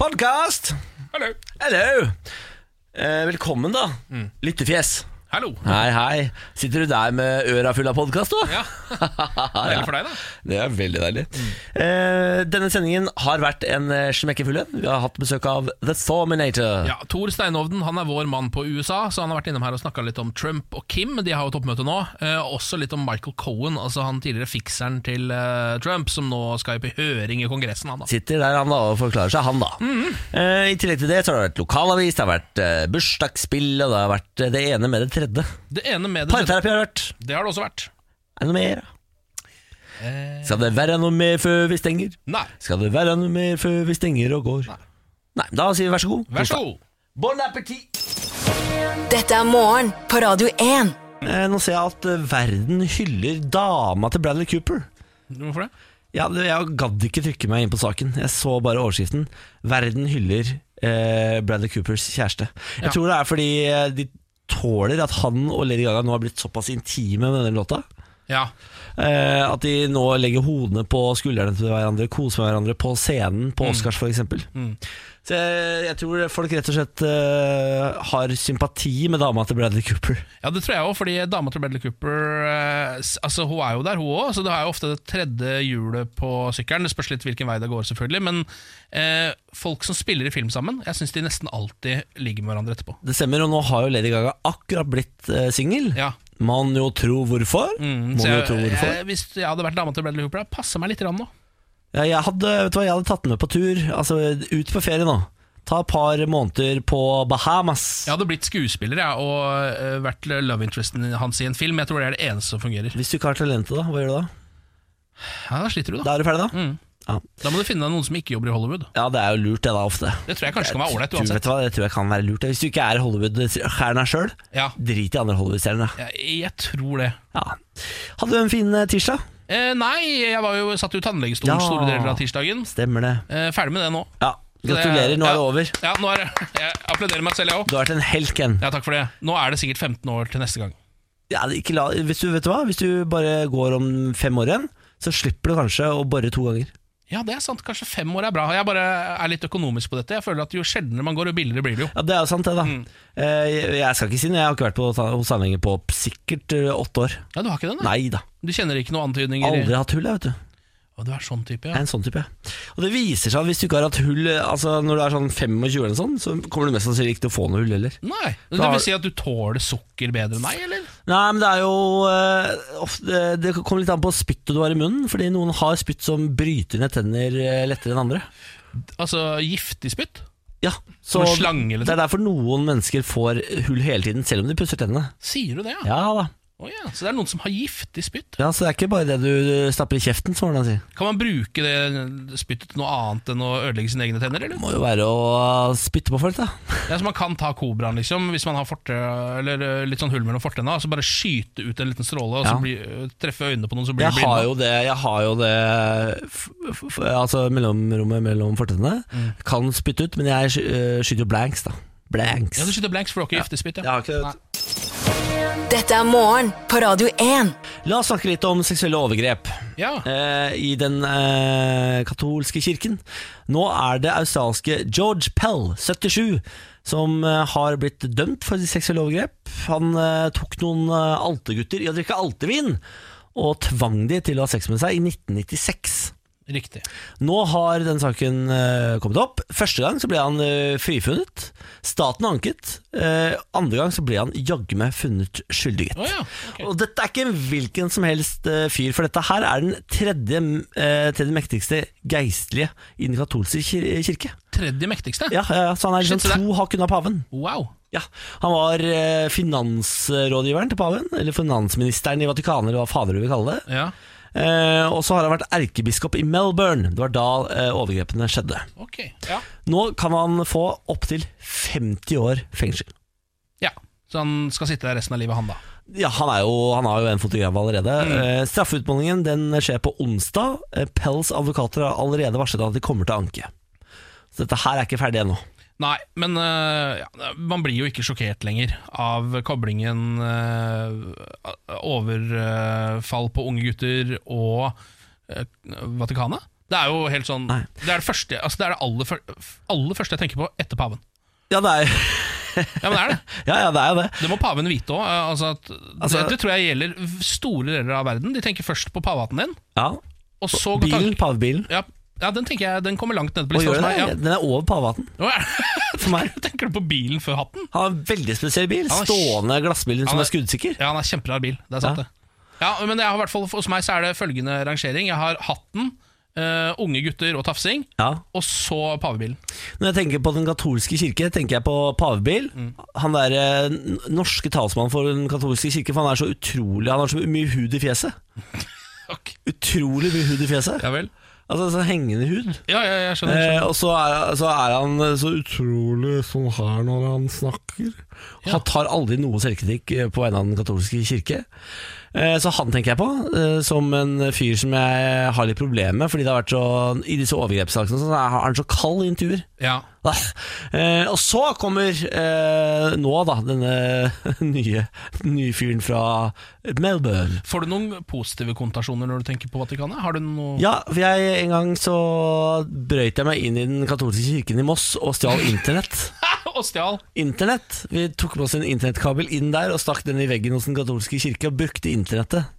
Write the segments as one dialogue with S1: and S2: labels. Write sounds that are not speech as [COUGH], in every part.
S1: Podkast!
S2: Hallo.
S1: Hello! Eh, velkommen, da.
S2: Mm.
S1: Lyttefjes.
S2: Hallo.
S1: Hei, hei. Sitter du der med øra fulle av podkast, da?
S2: Ja. Mm. Deilig for deg, da.
S1: Det er veldig deilig. Eh, denne sendingen har vært en eh, smekkefull en. Vi har hatt besøk av The Thorminator.
S2: Ja, Tor Steinovden han er vår mann på USA, så han har vært innom her og snakka litt om Trump og Kim. De har jo toppmøte nå. Eh, også litt om Michael Cohen, altså han tidligere fikseren til eh, Trump, som nå skal på høring i Kongressen. han da
S1: Sitter der han da og forklarer seg, han da.
S2: Mm.
S1: eh, I tillegg til det så har det vært lokalavis, det har vært eh, bursdagsspill, og det har vært eh, det ene med det tredje.
S2: Det ene med det
S1: Parterapi har det vært.
S2: Det har det også vært.
S1: Er det noe mer?
S2: Eh.
S1: Skal det være noe mer før vi stenger?
S2: Nei.
S1: Skal det være noe mer før vi stenger og går? Nei, da sier vi vær så god.
S2: Vær så god.
S1: Bon appétit!
S3: Dette er morgen på Radio 1.
S1: Eh, nå ser jeg at eh, verden hyller dama til Bradley Cooper.
S2: Hvorfor det?
S1: Ja, det- jeg gadd ikke trykke meg inn på saken. Jeg så bare overskriften. Verden hyller eh, Bradley Coopers kjæreste. Jeg
S2: Ja.
S1: tror det er fordi eh, de tåler at han og Lady Gaga nå har blitt såpass intime med denne låta.
S2: Ja.
S1: Eh, at de nå legger hodene på skuldrene til hverandre, koser med hverandre på scenen,
S2: Mm.
S1: på Oscars f.eks. Så jeg, jeg tror folk rett og slett eh, har sympati med dama til Bradley Cooper.
S2: Ja, det tror jeg òg, fordi dama til Bradley Cooper eh, s- Altså, Hun er jo der, hun òg, så det er jo ofte det tredje hjulet på sykkelen. Det spørs litt hvilken vei det går, selvfølgelig, men eh, folk som spiller i film sammen, jeg syns de nesten alltid ligger med hverandre etterpå.
S1: Det stemmer, og nå har jo Lady Gaga akkurat blitt eh, singel.
S2: Ja.
S1: Man jo tro hvorfor.
S2: Mm,
S1: Må
S2: så
S1: jo
S2: jeg,
S1: tro hvorfor.
S2: jeg, hvis jeg hadde vært dama til Bradley Cooper, jeg passa meg litt grann nå.
S1: Ja, jeg, hadde, vet du hva, jeg hadde tatt den med på tur, altså ut på ferie nå. Ta et par måneder på Bahamas.
S2: Jeg hadde blitt skuespiller jeg, og eh, vært love interesten hans i en film. Jeg tror det er det eneste som fungerer.
S1: Hvis du ikke har talentet, da, hva gjør du da?
S2: Ja, Da sliter du, da.
S1: Da er du ferdig, da?
S2: Mm.
S1: Ja.
S2: Da må du finne deg noen som ikke jobber i Hollywood.
S1: Ja, det er jo lurt, det da, ofte.
S2: Det tror jeg kanskje kan være ålreit
S1: Du,
S2: uansett.
S1: vet du hva, Det tror jeg kan være lurt. Hvis du ikke er Hollywood-stjerna sjøl,
S2: Ja,
S1: drit i andre Hollywood-stjerner. da.
S2: jeg, jeg tror det.
S1: Ja. Hadde du en fin eh, tirsdag?
S2: Eh, nei, jeg var jo satt jo i tannlegestolen
S1: Ja.
S2: store deler av tirsdagen.
S1: Stemmer det.
S2: Eh, ferdig med det nå.
S1: Ja, Gratulerer, nå er det over.
S2: Ja, nå er det. [LAUGHS] Jeg applauderer meg selv, jeg òg.
S1: Du har vært en helt, Ken.
S2: Ja, takk for det. Nå er det sikkert 15 år til neste gang.
S1: Ja, ikke la, hvis, du, vet du hva? hvis du bare går om fem år igjen, så slipper du kanskje å bore to ganger.
S2: Ja, det er sant. Kanskje fem år er bra. Jeg bare er litt økonomisk på dette. Jeg føler at Jo sjeldnere man går, jo billigere blir det jo.
S1: Ja, Det er jo sant, det, da.
S2: Mm.
S1: Eh, Jeg jeg skal ikke si det, jeg har ikke vært på, ta- hos tannlege på sikkert eh, åtte år.
S2: Ja, Du har ikke den, da?
S1: Nei da.
S2: Du kjenner ikke noen antydninger? i-
S1: Aldri hatt hull, jeg, vet du.
S2: Å, du er sånn type,
S1: Jeg
S2: ja.
S1: er en sånn type. jeg. Og det viser seg at hvis du ikke har hatt hull eh, Altså når du er sånn 25 eller sånn, så kommer du mest sannsynlig ikke til å få noe hull heller.
S2: Nei, Det
S1: Da har-
S2: vil si at du tåler sukker bedre enn meg, eller?
S1: Nei, men det er jo eh, ofte, Det kommer litt an på spyttet du har i munnen, fordi noen har spytt som bryter ned tenner eh, lettere enn andre.
S2: Altså giftig spytt?
S1: Ja,
S2: Som
S1: så
S2: en slange, liksom.
S1: Det er derfor noen mennesker får hull hele tiden, selv om de pusser tennene.
S2: sånn? Sier du det, ja?
S1: Ja da.
S2: Å ja. Så det er noen som har giftig spytt?
S1: Ja, Så det er ikke bare det du stapper i kjeften, som Hvordan sier.
S2: Kan man bruke det spyttet til noe annet enn å ødelegge sine egne tenner, eller?
S1: Det må jo være å spytte på folk, da.
S2: Ja, så Man kan ta kobraen liksom hvis man har forte, eller eh, litt sånn hull mellom fortenna. Så bare skyte ut en liten stråle og så
S1: Ja.
S2: bli, eh, treffe øynene på noen. Så blir
S1: Jeg
S2: de
S1: har
S2: blinde.
S1: jo det, jeg har jo det f f f Altså mellomrommet mellom fortennene.
S2: Mm.
S1: Kan spytte ut, men jeg sky- øh, skyter jo blanks, da. Blanks.
S2: Ja, Du skyter blanks, for du har ikke giftespytt.
S1: Jeg
S2: Ja.
S1: har ikke det. vet du.
S3: Dette er morgen på Radio 1.
S1: La oss snakke litt om seksuelle overgrep
S2: Ja.
S1: eh, i den eh, katolske kirken. Nå er det australske George Pell, 77, som eh, har blitt dømt for seksuelle overgrep. Han eh, tok noen eh, altergutter i å drikke altervin, og tvang de til å ha sex med seg i 1996.
S2: Riktig.
S1: Nå har den saken eh, kommet opp. Første gang så ble han eh, frifunnet. Staten anket. Eh, andre gang så ble han jaggu meg funnet skyldig. gitt.
S2: Å ja. ok.
S1: Og dette er ikke en hvilken som helst eh, fyr, for dette her er den tredje, eh, tredje mektigste geistlige i den katolske kir kirke.
S2: Tredje mektigste?
S1: Ja, ja, ja, Så han er liksom
S2: Shit, så det-
S1: to hakk unna paven.
S2: Wow.
S1: Ja, Han var eh, finansrådgiveren til paven, eller finansministeren i Vatikanet, eller hva fader du vil kalle det.
S2: Ja,
S1: Eh, og så har han vært erkebiskop i Melbourne. Det var da eh, overgrepene skjedde.
S2: ok. Ja.
S1: Nå kan han få opptil 50 år fengsel.
S2: ja. Så han skal sitte der resten av livet, han da.
S1: Ja, Han, er jo, han har jo en fotograf allerede. Eh, straffeutmålingen den skjer på onsdag. Eh, Pells advokater har allerede varslet at de kommer til å anke. Så dette her er ikke ferdig ennå.
S2: Nei, men øh, ja, man blir jo ikke sjokkert lenger av koblingen øh, overfall på unge gutter og øh, eh, Vatikanet. Det er jo helt sånn
S1: Nei.
S2: Det er det første altså Det er det aller, fyr- aller første jeg tenker på etter paven.
S1: Ja, det er
S2: Ja, men det er det.
S1: [LAUGHS] ja, ja, det er jo det.
S2: Det må paven vite òg. Altså at-
S1: Altså-
S2: det, det tror jeg gjelder store deler av verden. De tenker først på pavehatten din,
S1: Ja.
S2: og så går
S1: Bilen,
S2: tanken-
S1: pavebilen.
S2: Ja, ja, den tenker jeg Den kommer langt nede på
S1: Hva
S2: lista
S1: gjør
S2: hos
S1: den?
S2: meg. Ja.
S1: Den er over pavehatten
S2: Nå er [LAUGHS] det-
S1: for meg.
S2: Tenker du på bilen før hatten?
S1: Han har en veldig spesiell bil.
S2: Han er-
S1: Stående glassbilen som
S2: Han er-
S1: er skuddsikker.
S2: Ja, han er kjemperar bil. Det er sant,
S1: Ja.
S2: det. Ja, men jeg har, i hvert fall, Hos meg så er det følgende rangering. Jeg har hatten, eh, unge gutter og tafsing,
S1: Ja.
S2: og så pavebilen.
S1: Når jeg tenker på den katolske kirke, tenker jeg på pavebil. Han der eh, n- norske talsmannen for den katolske kirke, for han er så utrolig Han har så mye hud i fjeset.
S2: Ok.
S1: Utrolig mye hud i fjeset.
S2: Ja vel.
S1: Altså så hengende hud.
S2: Ja, ja, jeg skjønner.
S1: Eh, og så er, så er han eh, så utrolig sånn her når han snakker. Han tar aldri noe selvkritikk eh, på vegne av den katolske kirke. Eh, Så han tenker jeg på eh, som en fyr som jeg har litt problemer med. Fordi det har vært så, I disse overgrepssakene og sånn, så er er han så kald i intervjuer.
S2: Ja.
S1: Ah. Eh, og så kommer eh, nå, da, denne [LAUGHS] nye, nye fyren fra Melbourne.
S2: Får du noen positive kontasjoner når du tenker på Vatikanet? Har du noe [LAUGHS]
S1: Ja, for jeg, en gang så brøyt jeg meg inn i den katolske kirken i Moss og stjal internett.
S2: Og stjal.
S1: Internett. Vi tok med oss en internettkabel inn der og stakk den i veggen hos den katolske kirke og brukte internettet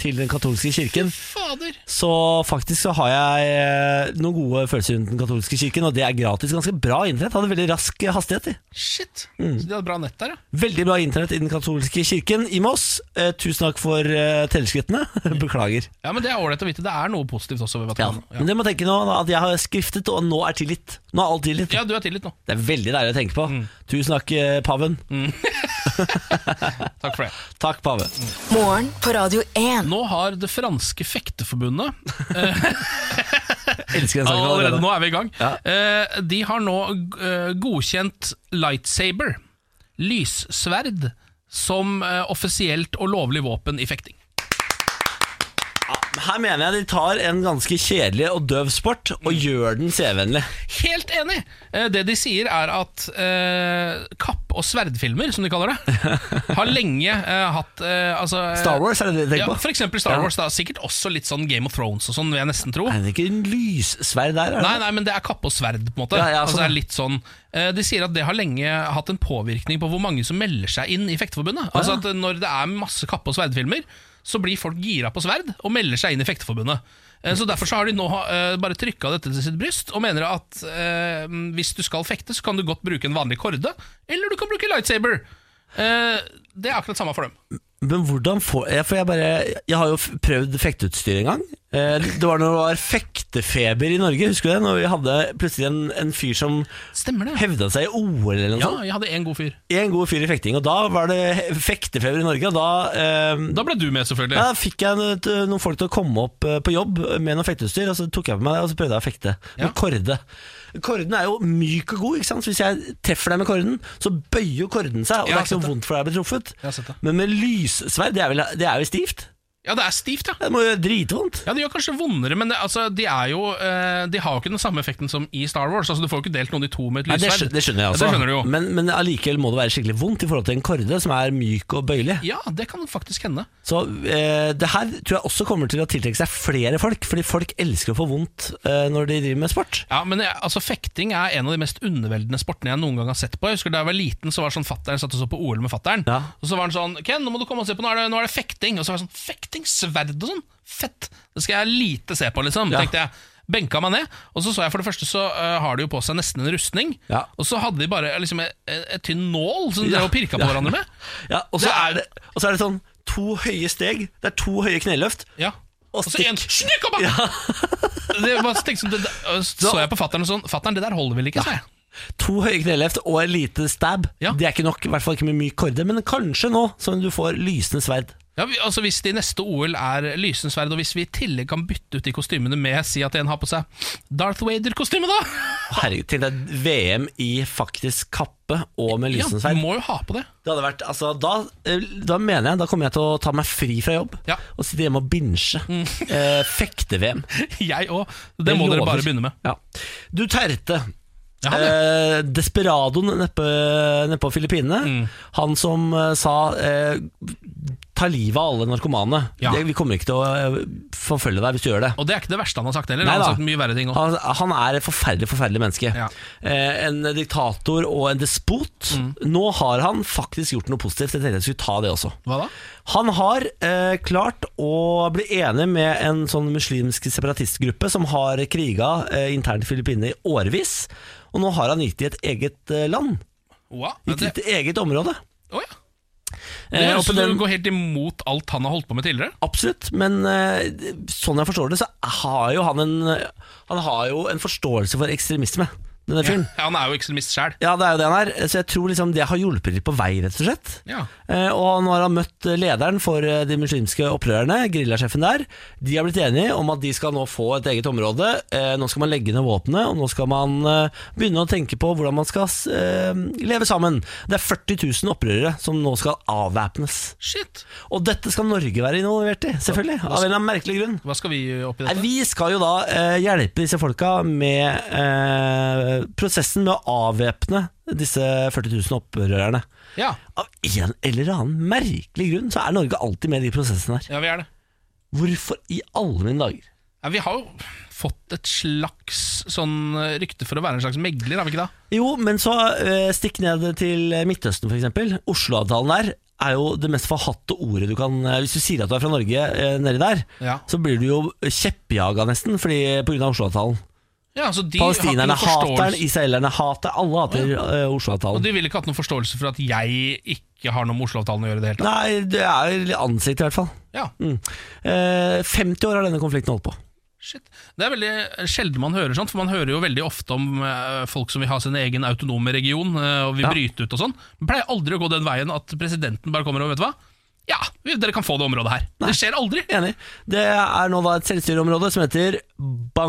S1: til den katolske kirken.
S2: Fader!
S1: Så faktisk så har jeg eh, noen gode følelser rundt den katolske kirken, og det er gratis. Ganske bra internett. Hadde veldig rask eh, hastighet. i.
S2: Shit.
S1: Mm.
S2: Så de hadde bra nett der, ja.
S1: Veldig bra internett i den katolske kirken i Moss. Eh, tusen takk for eh, telleskrittene. [LAUGHS] Beklager.
S2: Ja, men Det er ålreit å vite. Det er noe positivt også ved
S1: Ja.
S2: Vatikanet. Ja.
S1: Men dere må tenke nå da, at jeg har skriftet, og nå er tillit. Nå er alt tillit.
S2: ja, du er tillit nå.
S1: Det er veldig deilig å tenke på. Tusen takk, eh, paven.
S2: Takk for det.
S1: Takk, pave.
S3: Morgen på Radio 1.
S2: Nå har det franske fekteforbundet
S1: Elsker den saken
S2: Allerede
S1: allerede.
S2: nå er vi i gang.
S1: Ja.
S2: Eh, De har nå eh, godkjent lightsaber, lyssverd, som eh, offisielt og lovlig våpen i fekting.
S1: Her mener jeg de tar en ganske kjedelig og døv sport og gjør den CV-vennlig.
S2: Helt enig! Eh, Det de sier, er at eh, kapp- og sverdfilmer, som de
S1: [LAUGHS]
S2: kaller det, har lenge eh, hatt eh, altså, eh,
S1: Star Wars er det det de
S2: Ja,
S1: tenker på?
S2: for eksempel Star
S1: Ja.
S2: Wars. da Sikkert også litt sånn Game of Thrones og sånn, vil jeg nesten tro.
S1: Er det ikke en lyssverd der? Er det?
S2: Nei, nei, men det er kappe og sverd, på en måte.
S1: Ja, ja,
S2: altså,
S1: sånn,
S2: det
S1: ja.
S2: er litt sånn eh, De sier at det har lenge hatt en påvirkning på hvor mange som melder seg inn i Fekteforbundet. Altså at Når det er masse kappe- og sverdfilmer, så blir folk gira på sverd og melder seg inn i Fekteforbundet. Eh, Så Derfor så har de nå eh, bare trykka dette til sitt bryst og mener at eh, hvis du skal fekte, så kan du godt bruke en vanlig korde, eller du kan bruke lightsaber. Eh, det er akkurat samme for dem.
S1: Men hvordan får jeg, for jeg, bare, jeg har jo f- prøvd fekteutstyr en gang. Eh, Det var når det var fektefeber i Norge, husker du det? Når vi hadde plutselig en, en fyr som
S2: Stemmer det?
S1: hevda seg i OL eller noe
S2: Ja,
S1: sånt.
S2: jeg hadde en god fyr.
S1: En god fyr i fekting, og da var det he- fektefeber i Norge, og da eh,
S2: Da ble du med,
S1: ja,
S2: selvfølgelig.
S1: da fikk jeg noe- t- noen folk til å komme opp eh, på jobb med noe fekteutstyr, og så tok jeg på meg det, og så prøvde jeg å fekte med
S2: Ja.
S1: korde. Korden er jo myk og god, ikke sant? så hvis jeg treffer deg med korden, så bøyer jo korden seg, og det er ikke
S2: Ja, jeg har sett
S1: noe vondt for deg å bli truffet.
S2: Jeg har sett det.
S1: Men med lyssverd, det er, vel, det er jo stivt?
S2: Ja, det er stivt, ja.
S1: Det må jo gjøre dritvondt.
S2: Ja, Det gjør kanskje vondere, men det, altså, de, er jo, eh, de har jo ikke den samme effekten som i Star Wars. Altså, Du får jo ikke delt noen i to med et
S1: Nei, det, skjø-
S2: lyssverd.
S1: det skjønner jeg
S2: Ja,
S1: også,
S2: det skjønner du jo.
S1: Men, men allikevel må det være skikkelig vondt i forhold til en korde som er myk og bøyelig.
S2: Ja, det kan faktisk hende.
S1: Så eh, det her tror jeg også kommer til å tiltrekke seg flere folk, fordi folk elsker å få vondt eh, når de driver med sport.
S2: Ja, men jeg, altså, Fekting er en av de mest underveldende sportene jeg noen gang har sett på. Jeg husker Da jeg var liten, så var det sånn fatteren satt og så på OL med fatteren.
S1: Ja.
S2: Og så var han sånn Ken, nå må du komme og se på, nå er det, nå er det fekting. Og så var det sånn Fekting, sverd og sånn. Fett! Det skal jeg lite se på, liksom.
S1: Ja.
S2: tenkte jeg. Benka meg ned, og så så jeg for det første så eh, har de jo på seg nesten en rustning.
S1: Ja.
S2: Og så hadde de bare liksom en, en, en tynn nål som de
S1: Ja.
S2: drev og pirka på
S1: Ja.
S2: hverandre med.
S1: Ja, og så
S2: Det er-
S1: er, det- og så er det sånn to høye steg. Det er to høye kneløft.
S2: Ja.
S1: Og
S2: Og så
S1: stikk.
S2: en Snykk opp! Ja. det var, så, tenkte, jeg sånn, det, det, så jeg på fatteren sånn Fatteren, det der holder vel ikke, sa jeg.
S1: To høye kneløft og en lite stab.
S2: Ja.
S1: Det er ikke nok, i hvert fall ikke med myk korde, men kanskje nå som du får lysende sverd.
S2: Ja, vi, altså Hvis det i neste OL er lysende sverd, og hvis vi i tillegg kan bytte ut de kostymene med Si at en har på seg Darth Vader-kostyme, da!
S1: Herregud, tenk deg VM i faktisk kappe og med
S2: Ja,
S1: lysende
S2: Du
S1: sverd.
S2: må jo ha på det. [LAUGHS]
S1: Det hadde vært, altså, da, eh, da mener jeg da kommer jeg til å ta meg fri fra jobb
S2: Ja. Mm.
S1: og sitte hjemme og binge. Eh, Fekte-VM.
S2: Jeg òg. Det må dere
S1: lover.
S2: bare begynne med.
S1: Ja. Du Terte.
S2: Ja, han, ja.
S1: Eh,
S2: Mm.
S1: Desperadoen neppe- nedpå Filippinene. Han som eh, sa eh, ta livet av alle narkomane.
S4: Ja.
S1: Det, vi kommer ikke til å eh, forfølge deg hvis du gjør det.
S4: Og det er ikke det verste han har sagt heller.
S1: Nei
S4: han har
S1: da.
S4: sagt mye verre ting også.
S1: Han, han er et forferdelig forferdelig menneske.
S4: Ja.
S1: Eh, en diktator og en despot.
S2: Mm.
S1: Nå har han faktisk gjort noe positivt. Jeg tenkte jeg skulle ta det også.
S4: Hva da?
S1: Han har eh, klart å bli enig med en sånn muslimsk separatistgruppe som har kriga eh, internt i Filippinene i årevis. Og nå har han gitt i et eget eh, land.
S4: Hva? Ja,
S1: Gitt i
S4: det,
S1: et eget område.
S4: Å, ja. det
S1: Eh, og
S4: høres
S1: på
S4: ut som
S1: den-
S4: du går helt imot alt han har holdt på med tidligere.
S1: Absolutt, men eh, sånn jeg forstår det, så har jo han en, han har jo en forståelse for ekstremisme, denne
S4: Ja,
S1: fyren.
S4: han er jo ekstremist sjæl.
S1: Ja, det er jo det han er. Så jeg tror liksom det har hjulpet litt på vei, rett og slett.
S4: Ja.
S1: Eh, Og nå har han møtt lederen for eh, de muslimske opprørerne, gerillasjefen der. De har blitt enige om at de skal nå få et eget område. Eh, Nå skal man legge ned våpenet, og nå skal man eh, begynne å tenke på hvordan man skal eh, leve sammen. Det er 40 000 opprørere som nå skal avvæpnes.
S4: Shit!
S1: Og dette skal Norge være involvert i, selvfølgelig. Av en eller annen merkelig grunn.
S4: Hva skal vi gjøre oppi
S1: Nei,
S4: dette?
S1: Vi skal jo da eh, hjelpe disse folka med eh, prosessen med å avvæpne disse 40 000 opprørerne.
S4: Ja.
S1: Av en eller annen merkelig grunn så er Norge alltid med i de prosessene her.
S4: ja, vi er det.
S1: Hvorfor i alle mine dager?
S4: Ja, vi har jo fått et slags sånn rykte for å være en slags megler, har vi ikke det?
S1: Jo, men så eh, stikk ned til Midtøsten f.eks. Oslo-avtalen der er jo det mest forhatte ordet du kan eh, Hvis du sier at du er fra Norge eh, nedi der,
S4: Ja.
S1: så blir du jo kjeppjaga nesten fordi, eh, på grunn av Oslo-avtalen.
S4: Ja, så de har ikke noe
S1: Palestinerne hater den,
S4: forståelse-
S1: israelerne hater Alle hater eh,
S4: Og
S1: Oslo-avtalen.
S4: de ville ikke hatt noen forståelse for at jeg ikke har noe med Oslo-avtalen å gjøre i det hele tatt.
S1: Nei, det er ansiktet i hvert fall.
S4: Ja,
S1: Mm. Eh, 50 år har denne konflikten holdt på.
S4: shit. Det er veldig sjelden man hører sånt, for man hører jo veldig ofte om eh, folk som vil ha sin egen autonome region, eh, og vil
S1: Ja.
S4: bryte ut og sånn. Men pleier aldri å gå den veien at presidenten bare kommer og vet du hva? Ja, vi- dere kan få det området her. Det skjer aldri.
S1: Enig. Det er nå da et selvstyreområde som heter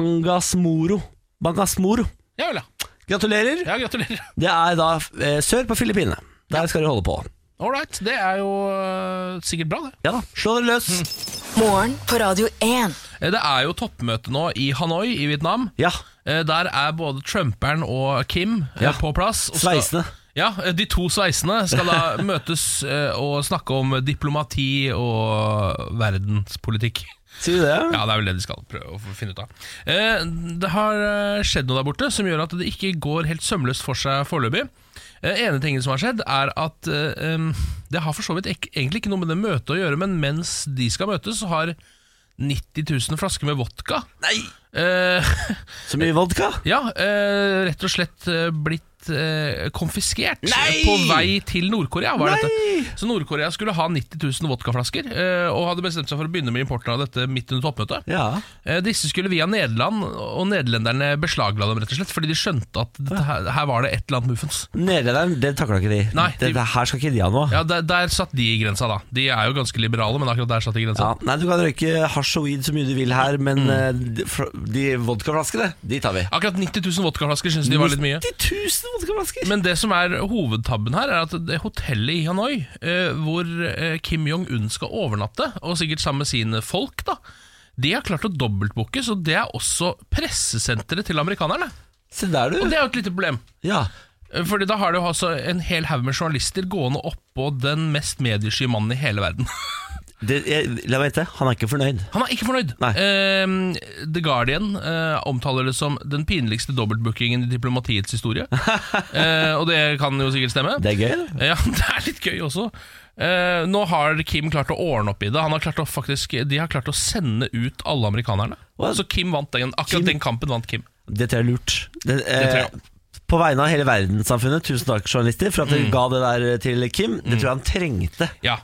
S1: Bangasmoro. Bangasmoro.
S4: Ja vel, ja.
S1: Gratulerer.
S4: ja gratulerer.
S1: Det er da eh, sør på Filippinene. Der skal de holde på.
S4: All right, det er jo eh, sikkert bra, det.
S1: Ja da, slå dere løs.
S2: Mm.
S3: Morgen på Radio 1.
S2: Eh, Det er jo toppmøte nå i Hanoi i Vietnam.
S1: Ja.
S2: Eh, Der er både Trumperen og Kim eh,
S1: Ja.
S2: på plass. og skal-
S1: Sveisene.
S2: Ja, eh, De to sveisene skal
S1: [LAUGHS]
S2: da møtes eh, og snakke om diplomati og verdenspolitikk.
S1: Sier du det?
S2: Ja, det er vel det de skal prøve å få- finne ut av. Eh, Det har eh, skjedd noe der borte som gjør at det ikke går helt sømløst for seg foreløpig. Eh, Ene tingen som har skjedd, er at eh, em, det har for så vidt ek- egentlig ikke noe med det møtet å gjøre, men mens de skal møtes, så har 90 000 flasker med vodka
S1: Nei!
S2: eh, [LAUGHS]
S1: Så mye vodka?
S2: ja, eh, rett og slett eh, blitt eh, konfiskert
S1: Nei!
S2: på vei til Nord-Korea. var
S1: Nei!
S2: dette. Så Nord-Korea skulle ha 90 000 vodkaflasker, eh, og hadde bestemt seg for å begynne med importen av dette midt under toppmøtet.
S1: Ja.
S2: Eh, Disse skulle via Nederland, og nederlenderne beslagla dem rett og slett, fordi de skjønte at dette her, her var det et eller annet muffens.
S1: Nederlenderen, det takla ikke de.
S2: Nei, de-
S1: Dette her skal ikke de ha noe av.
S2: Ja, der, der satt de i grensa, da. De er jo ganske liberale, men akkurat der satt de i grensa.
S1: Ja, nei, Du kan røyke hasj og weed så mye du vil her, men
S2: Mm.
S1: eh, de, fra- de vodkaflaskene, de tar vi.
S2: Akkurat 90 000 vodkaflasker syns de var litt mye.
S1: 90 000 vodkaflasker!
S2: Men det som er hovedtabben her, er at det hotellet i Hanoi, eh, hvor eh, Kim Jong-un skal overnatte, og sikkert sammen med sine folk, da, de har klart å dobbeltbooke, så det er også pressesenteret til amerikanerne.
S1: Se der,
S2: Og
S1: du.
S2: det er jo et lite problem.
S1: Ja.
S2: Eh, Fordi da har du altså en hel haug med journalister gående oppå den mest mediesky mannen i hele verden. [LAUGHS]
S1: Det, jeg, la meg vite, han er ikke fornøyd.
S2: Han er ikke fornøyd.
S1: Nei.
S2: Eh, The Guardian eh, omtaler det som den pinligste dobbeltbookingen i diplomatiets
S1: [LAUGHS]
S2: historie. eh, og det kan jo sikkert stemme.
S1: Det er gøy, det.
S2: Ja, [LAUGHS] det er litt gøy også. Eh, nå har Kim klart å ordne opp i det. Han har klart å faktisk, de har klart å sende ut alle amerikanerne.
S1: Hva?
S2: Så Kim vant den. Akkurat
S1: Kim-
S2: den kampen vant Kim.
S1: Det tror jeg er lurt. Det,
S2: tror
S1: eh,
S2: jeg. Mm.
S1: på vegne av hele verdenssamfunnet, tusen takk, journalister, for at dere ga det der eh, til Kim. Det tror jeg han trengte.
S2: Ja,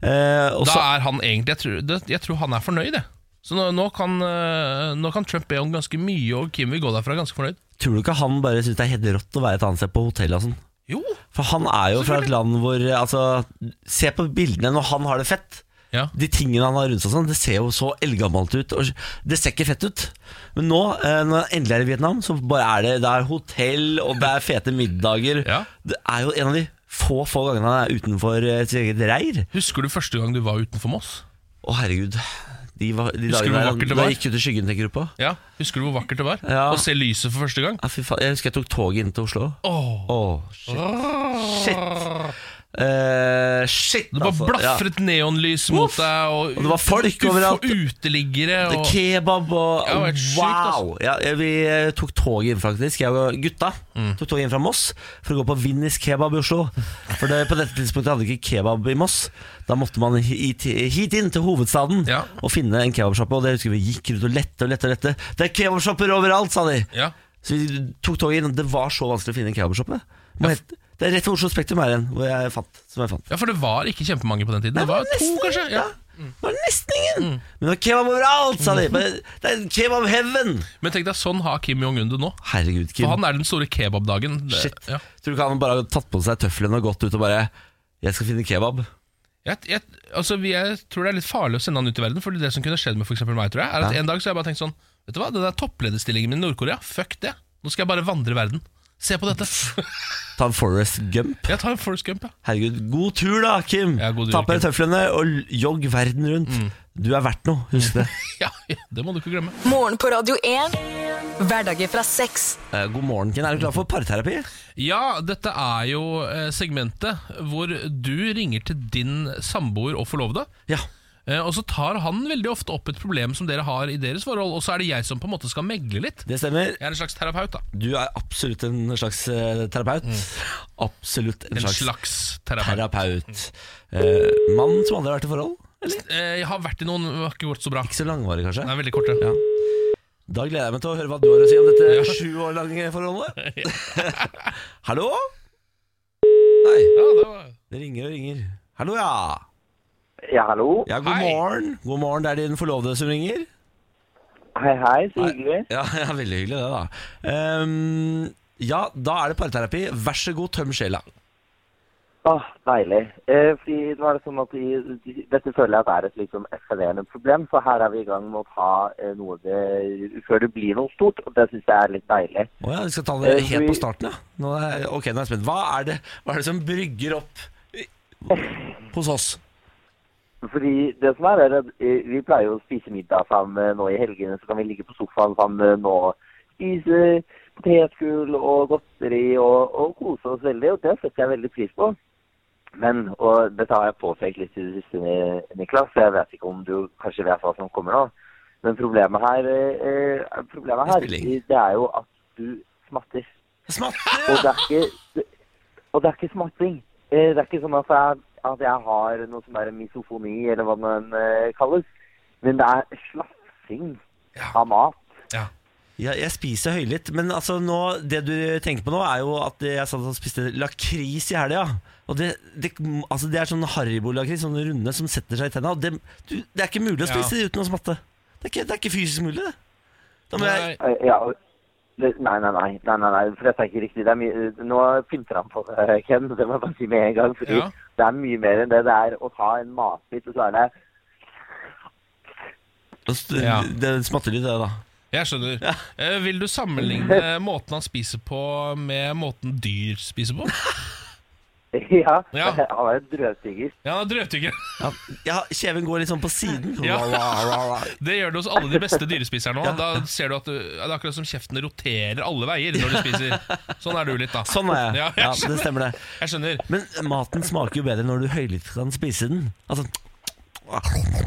S1: Eh, og
S2: Mm. Da
S1: så-
S2: er han egentlig Jeg tror, det, jeg tror han er fornøyd, jeg. Så nå, nå, kan, eh, nå kan Trump be om ganske mye, og Kim vil gå derfra ganske fornøyd.
S1: tror du ikke han bare syns det er helt rått å være et annet sted på hotell og sånn?
S2: Jo
S1: For han er jo fra et land hvor eh, Altså, se på bildene når han har det fett.
S2: ja.
S1: De tingene han har rundt seg, og sånn, det ser jo så eldgammelt ut. Og det ser ikke fett ut. Men nå, eh, når han endelig er i Vietnam, så bare er det, det er hotell og det er fete middager.
S2: [LAUGHS] Ja.
S1: Det er jo en av de få få gangene han er utenfor eh, sitt eget reir.
S2: Husker du første gang du var utenfor Moss?
S1: Å, herregud. De, var, de
S2: Husker
S1: dagene
S2: du hvor
S1: der,
S2: vakkert det
S1: da
S2: var?
S1: gikk ut i skyggen, tenker du på?
S2: Ja, Husker du hvor vakkert det var?
S1: Ja.
S2: Å se lyset for første gang?
S1: Ja, fy faen, Jeg husker jeg tok toget inn til Oslo.
S2: Åh,
S1: Åh, shit. shit. Eh, shit,
S2: Det bare
S1: altså.
S2: blafret neonlys mot
S1: Uff.
S2: deg, og,
S1: Og det var folk overalt.
S2: ufo- uteliggere.
S1: Ja.
S2: Og,
S1: Kebab og
S2: Ja, det var helt sykt,
S1: Wow! Ja, vi eh, tok toget inn, faktisk. Jeg og gutta
S2: Mm.
S1: tok toget inn fra Moss for å gå på Vinnis kebab i Oslo. For det, på dette tidspunktet hadde vi ikke kebab i Moss. Da måtte man hit, hit inn til hovedstaden
S2: Ja.
S1: og finne en kebabsjappe. Og det husker vi gikk rundt og lette og lette og lette. Det er kebabshopper overalt, sa de.
S2: ja.
S1: Så vi tok toget inn, og det var så vanskelig å finne en kebabsjappe. Man het- Det er rett ved Oslo Spektrum her igjen, hvor jeg fant. Som jeg fant.
S2: ja, for det var ikke kjempemange på den tiden.
S1: Nei,
S2: Det var to,
S1: nesten
S2: kanskje.
S1: ingen,
S2: Ja. Mm.
S1: Det var nesten ingen! Men det var kebab overalt, sa de. Men det er kebab heaven!
S2: Men tenk deg, sånn har Kim Jong-un det nå.
S1: Herregud, Kim.
S2: For han er den store kebabdagen. Det-
S1: Shit.
S2: Ja.
S1: Tror du ikke han bare har tatt på seg tøflene og gått ut og bare Jeg skal finne kebab.
S2: Jeg, jeg, altså, vi- jeg tror det er litt farlig å sende han ut i verden, Fordi det som kunne skjedd med for eksempel meg, tror jeg, er at en dag så har jeg bare tenkt sånn Vet du hva, den der topplederstillingen min i Nord-Korea, fuck det. Nå skal jeg bare vandre i verden. Se på dette.
S1: Ta en Forest Gump.
S2: Jeg tar en Forrest Gump, ja.
S1: Herregud, god tur da, Kim!
S2: Ja, god tur,
S1: Ta på deg
S2: Kim. Mm.
S1: tøflene og l- jogg verden rundt. Du er verdt noe, husk
S2: [LAUGHS]
S1: det.
S2: ja. ja, Det må du ikke glemme.
S3: Morgen på Radio 1. Hverdager fra seks.
S1: Eh, God morgen, Kim. Er du klar for parterapi?
S2: Ja, dette er jo eh, segmentet hvor du ringer til din samboer og forlovede.
S1: Ja.
S2: eh, Og så tar han veldig ofte opp et problem som dere har i deres forhold, og så er det jeg som på en måte skal megle litt.
S1: Det stemmer.
S2: Jeg er en slags terapeut, da.
S1: Du er absolutt en slags eh, terapeut. Absolutt en,
S2: En
S1: slags,
S2: slags terapeut.
S1: terapeut. Eh, mann som aldri har vært i forhold? Eller?
S2: Eh, Jeg har vært i noen, det har ikke gått så bra.
S1: Ikke så langvarig, kanskje?
S2: Det er veldig korte.
S1: Ja. Da gleder jeg meg til å høre hva du har å si om
S2: Ja.
S1: dette sju år lange [LAUGHS] forholdet. Hallo? Nei,
S2: Ja, det var...
S1: det ringer og ringer. Hallo, ja.
S5: Ja, hallo.
S1: Ja, god
S2: Hei.
S1: morgen. God morgen, det er din forlovede som ringer.
S5: Hei, hei. Så
S1: Hei.
S5: hyggelig.
S1: Ja, ja veldig hyggelig det, da. Ehm, ja, da er det parterapi. Vær så god, tøm sjela.
S5: Åh, deilig. Eh, fordi nå er det sånn at i, Dette føler jeg at er et liksom eskalerende problem, så her er vi i gang med å ta eh, noe det, før det blir noe stort, og det syns jeg er litt deilig.
S1: Å ja, vi skal ta det
S5: Eh,
S1: helt
S5: vi-
S1: på starten, ja. Nå er, ok, nå er jeg spent. Hva er det, hva er det som brygger opp i- hos oss?
S5: Fordi det som er, er at eh, vi pleier jo å spise middag sammen eh, nå i helgene, så kan vi ligge på sofaen sammen eh, og spise potetgull og godteri og, og kose oss veldig, og det setter jeg veldig pris på. Men, og dette har jeg påpekt litt i det siste, Ni- Niklas, så jeg vet ikke om du kanskje vet hva som kommer nå. Men problemet her, eh, eh, problemet her
S1: Det spiller ingen.
S5: det er jo at du smatter.
S1: Smatter!
S5: Og det er ikke, det, og det er ikke smatting. Eh, Det er ikke sånn at jeg, at jeg har noe som er misofoni, eller hva den eh, kalles. Men det er slafsing av mat.
S1: Ja, jeg spiser høylytt, men altså nå, det du tenker på nå er jo at jeg satt og spiste lakris i helga. Og det, det, altså det er sånn Haribo-lakris, sånne runde som setter seg i tenna. Og det, du, det er ikke mulig å
S2: Ja.
S1: spise det uten å smatte. Det er ikke, det er ikke fysisk mulig, det. Da må jeg,
S2: Nei,
S5: Eh, Ja, og- det, nei, nei, nei, nei, nei, nei, for dette er ikke riktig. Det er mye, eh, nå pynter han på det, eh, Ken, det må jeg bare si med en gang. Fordi
S2: Ja.
S5: det er mye mer enn det. Det er å ta en matbit, og så er det [LAUGHS]
S1: det,
S2: Ja.
S1: det smatter litt, det, da.
S2: jeg skjønner. Eh, Vil du sammenligne måten han spiser på med måten dyr spiser på?
S5: Ja,
S2: Ja.
S5: [LAUGHS] han er en drøvtygger.
S2: Ja, han er drøvtygger.
S1: Ja, ja, kjeven går litt sånn på siden.
S2: Ja.
S1: Ra, ra, ra, ra.
S2: Det gjør det hos alle de beste dyrespiserne
S1: Ja.
S2: òg. Da ser du at du, det er akkurat som kjeftene roterer alle veier når du spiser. Sånn er du litt, da.
S1: Sånn er jeg.
S2: Ja,
S1: Ja,
S2: jeg
S1: det
S2: skjønner.
S1: stemmer det.
S2: Jeg skjønner.
S1: Men maten smaker jo bedre når du høylytt kan spise den. Altså,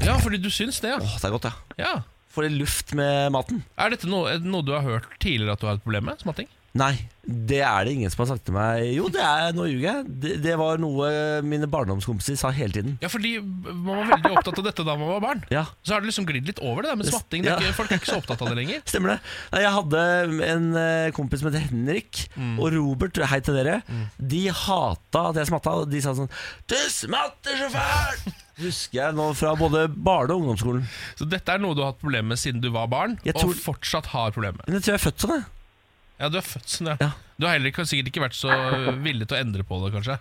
S2: Ja, fordi du syns det, ja.
S1: åh, det er godt, ja.
S2: ja.
S1: Får litt luft med maten.
S2: Er dette noe, er det noe du har hørt tidligere at du har et problem med? Smatting?
S1: Nei, det er det ingen som har sagt til meg. Jo, det er, nå ljuger jeg. Det, det var noe mine barndomskompiser sa hele tiden.
S2: Ja, fordi man var veldig opptatt av dette da man var barn.
S1: Ja,
S2: Så har det liksom glidd litt over det der med smatting. Det er
S1: Ja.
S2: ikke, folk er ikke så opptatt av det lenger.
S1: stemmer det. Nei, jeg hadde en eh, kompis som het Henrik og Robert, hei til dere. De hata at jeg smatta, og de sa sånn Du smatter så [LAUGHS] fælt! Husker jeg nå fra både barne- og ungdomsskolen.
S2: Så dette er noe du har hatt problemer med siden du var barn,
S1: Jeg tror-
S2: og fortsatt har problemer med.
S1: Men jeg tror jeg er født sånn, jeg.
S2: Ja, du er født sånn, ja.
S1: Ja.
S2: Du har heller ikke, sikkert ikke vært så villig til å endre på det, kanskje.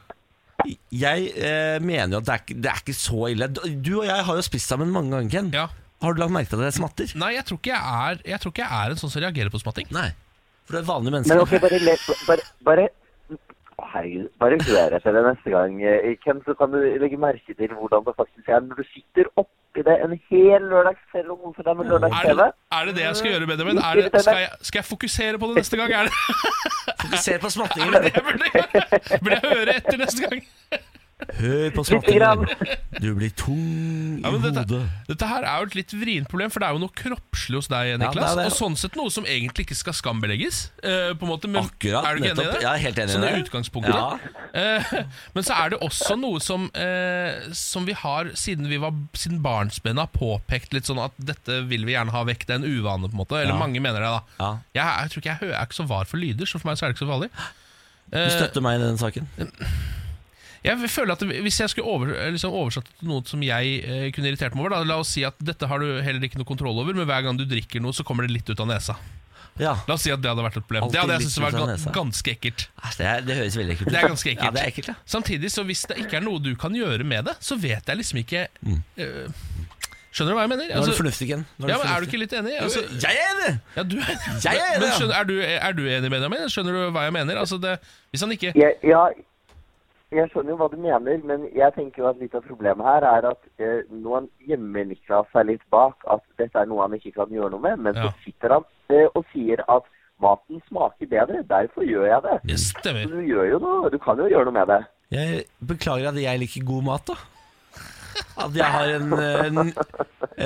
S1: Jeg eh, mener jo at det er, ikke- det er ikke så ille. Du og jeg har jo spist sammen mange ganger, Ken.
S2: Ja.
S1: Har du lagt merke til at jeg smatter?
S2: Nei, jeg tror ikke jeg er, jeg tror ikke jeg er en sånn som reagerer på smatting.
S1: Nei. For det er vanlige
S5: Men
S1: mennesker.
S5: ok, bare le... Bare, bare Å, herregud. Bare hør etter det neste gang, eh, Ken, så kan du legge merke til hvordan det faktisk er når du sitter oppi det en hel lørdagskveld og koser deg med
S2: Er
S5: lørdags-TV.
S2: det, er det det jeg skal gjøre, Benjamin? Er det, skal, jeg, skal jeg fokusere på det neste gang? Er det
S1: Fokuser på smattingen.
S2: er det det jeg burde gjøre? Burde jeg høre etter neste gang?
S1: Hør på
S5: Lite grann.
S1: smattingen. Du blir tung i
S2: Ja, men dette,
S1: hodet.
S2: dette her er jo et litt vrient problem, for det er jo noe kroppslig hos deg,
S1: Ja, det er
S2: Niklas.
S1: det.
S2: Og sånn sett noe som egentlig ikke skal skambelegges. eh, på en måte, men
S1: Akkurat,
S2: Er du ikke enig i
S1: nettopp.
S2: det?
S1: Jeg er helt enig i
S2: sånn i
S1: det.
S2: utgangspunktet.
S1: Ja.
S2: Eh, [LAUGHS] men så er det også noe som, eh, som vi har, siden vi var Siden barnsbena, påpekt litt sånn at dette vil vi gjerne ha vekk. Det er en uvane, på en måte. Eller
S1: Ja.
S2: mange mener det, da.
S1: Ja.
S2: Jeg, er- jeg tror ikke jeg, hø- jeg er ikke så var for lyder, så for meg så er det ikke så farlig. Eh,
S1: Du støtter meg i den saken.
S2: Jeg føler at Hvis jeg skulle over, liksom oversatt det til noe som jeg eh, kunne irritert meg over da, La oss si at dette har du heller ikke noe kontroll over, men hver gang du drikker noe, så kommer det litt ut av nesa.
S1: Ja.
S2: La oss si at det hadde vært et problem.
S1: Alltid
S2: det hadde jeg
S1: litt
S2: syntes
S1: ut
S2: var
S1: av
S2: ga-
S1: nesa.
S2: ganske ekkelt.
S1: Æsj, Det, er, det høres veldig ekkelt ut.
S2: Det er ganske ekkelt.
S1: Ja, det er ekkelt, ja.
S2: Samtidig, så hvis det ikke er noe du kan gjøre med det, så vet jeg liksom ikke eh, Skjønner du hva jeg mener?
S1: Mm. Nå er
S2: Altså,
S1: du fornuftig igjen. Nå
S2: ja, men er du
S1: fornuftig.
S2: ikke litt enig? Altså,
S1: Jo, Jeg er enig!
S2: ja, du,
S1: Jeg er enig,
S2: men
S1: ja.
S2: skjønner, er, du, er du enig, Benjamin? Skjønner du hva jeg mener? Altså, det, hvis han ikke
S5: Jeg, ja, jeg skjønner jo hva du mener, men jeg tenker jo at litt av problemet her er at eh, når han gjemmer Niklas seg litt bak at dette er noe han ikke kan gjøre noe med, men
S2: Ja.
S5: så sitter han eh, og sier at maten smaker bedre, derfor gjør jeg det. Så
S2: Stemmer.
S5: du gjør jo noe, du kan jo gjøre noe med det.
S1: Jeg beklager at jeg liker god mat, da. At jeg har en, en,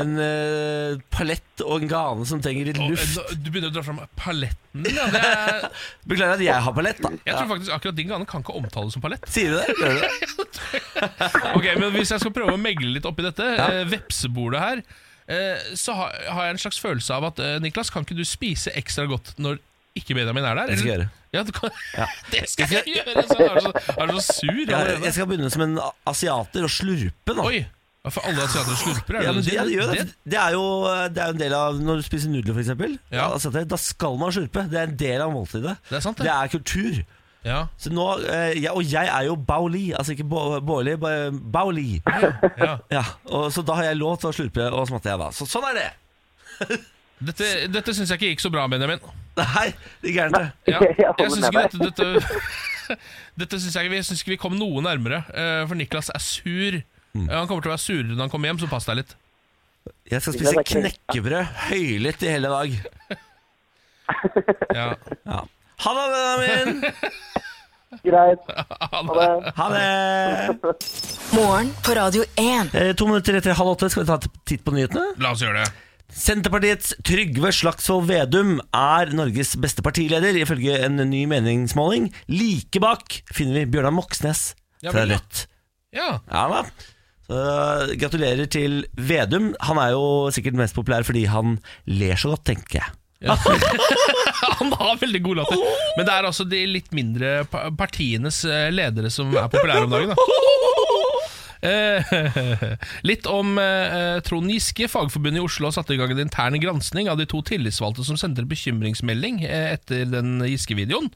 S1: en eh, palett og en gane som trenger litt
S2: Og,
S1: luft.
S2: eh, Du begynner å dra fram paletten din. Ja, det er,
S1: [LAUGHS] Beklager at jeg har palett, da.
S2: Jeg tror
S1: Ja.
S2: faktisk akkurat din gane kan ikke omtales som palett.
S1: Sier du det? Gjør du det?
S2: Ok, men Hvis jeg skal prøve å megle litt oppi dette,
S1: Ja.
S2: eh, vepsebordet her, eh, så har, har jeg en slags følelse av at eh, Niklas, kan ikke du spise ekstra godt når ikke Benjamin er der?
S1: Det skal jeg gjøre.
S2: Ja, du kan, [LAUGHS] det skal jeg gjøre! Så er du så, er du så sur
S1: Jeg,
S2: allerede.
S1: jeg skal begynne som en asiater og slurpe nå.
S2: Oi! ja, For alle asiater slurper, er
S1: Ja,
S2: det
S1: men det,
S2: det du sier?
S1: det, gjør det.
S2: Det-
S1: Det, er jo, det er jo en del av Når du spiser nudler, for eksempel
S2: Ja.
S1: altså, det- Da skal man slurpe. Det er en del av måltidet.
S2: Det er sant, det.
S1: Det er kultur.
S2: Ja.
S1: Så nå, eh, jeg, og jeg er jo Bauli, altså ikke Bo- Bårli, ba- Bauli.
S2: ja.
S1: Ja, og, så da har jeg lov til å slurpe og smatte, jeg da. Så sånn er det.
S2: Dette, dette syns jeg ikke gikk så bra, Benjamin.
S1: Nei, det er gærent, det. [LAUGHS]
S2: Ja,
S5: Jeg holder
S2: jeg syns ikke
S5: med
S2: dette, dette, [LAUGHS] dette synes jeg, ikke- Vi syns ikke vi kom noe nærmere, eh, for Niklas er sur.
S1: Mm.
S2: Eh, Han kommer til å være surere når han kommer hjem, så pass deg litt.
S1: Jeg skal
S5: Det
S1: spise
S5: er ikke-
S1: knekkebrød høylytt i hele dag.
S2: Ja.
S1: Ja. Ha det, vennen min!
S5: Greit. Ha det.
S1: Ha
S5: [LAUGHS]
S1: det!
S3: Morgen på Radio 1.
S1: Eh, to minutter etter halv åtte skal vi ta en titt på nyhetene.
S2: La oss gjøre det.
S1: Senterpartiets Trygve Slagsvold Vedum er Norges beste partileder, ifølge en ny meningsmåling. Like bak finner vi Bjørnar Moxnes
S2: Ja,
S1: fra
S2: vel, ja.
S1: Rødt.
S2: Ja,
S1: Ja da. Så, gratulerer til Vedum. Han er jo sikkert mest populær fordi han ler så godt, tenker jeg.
S2: [LAUGHS] Han har veldig god latter. Men det er altså de litt mindre pa- partienes eh, ledere som er populære om dagen. Da. Eh, [LAUGHS] Litt om eh, Trond Giske. Fagforbundet i Oslo satte i gang en intern gransking av de to tillitsvalgte som sendte en bekymringsmelding eh, etter den Giske-videoen.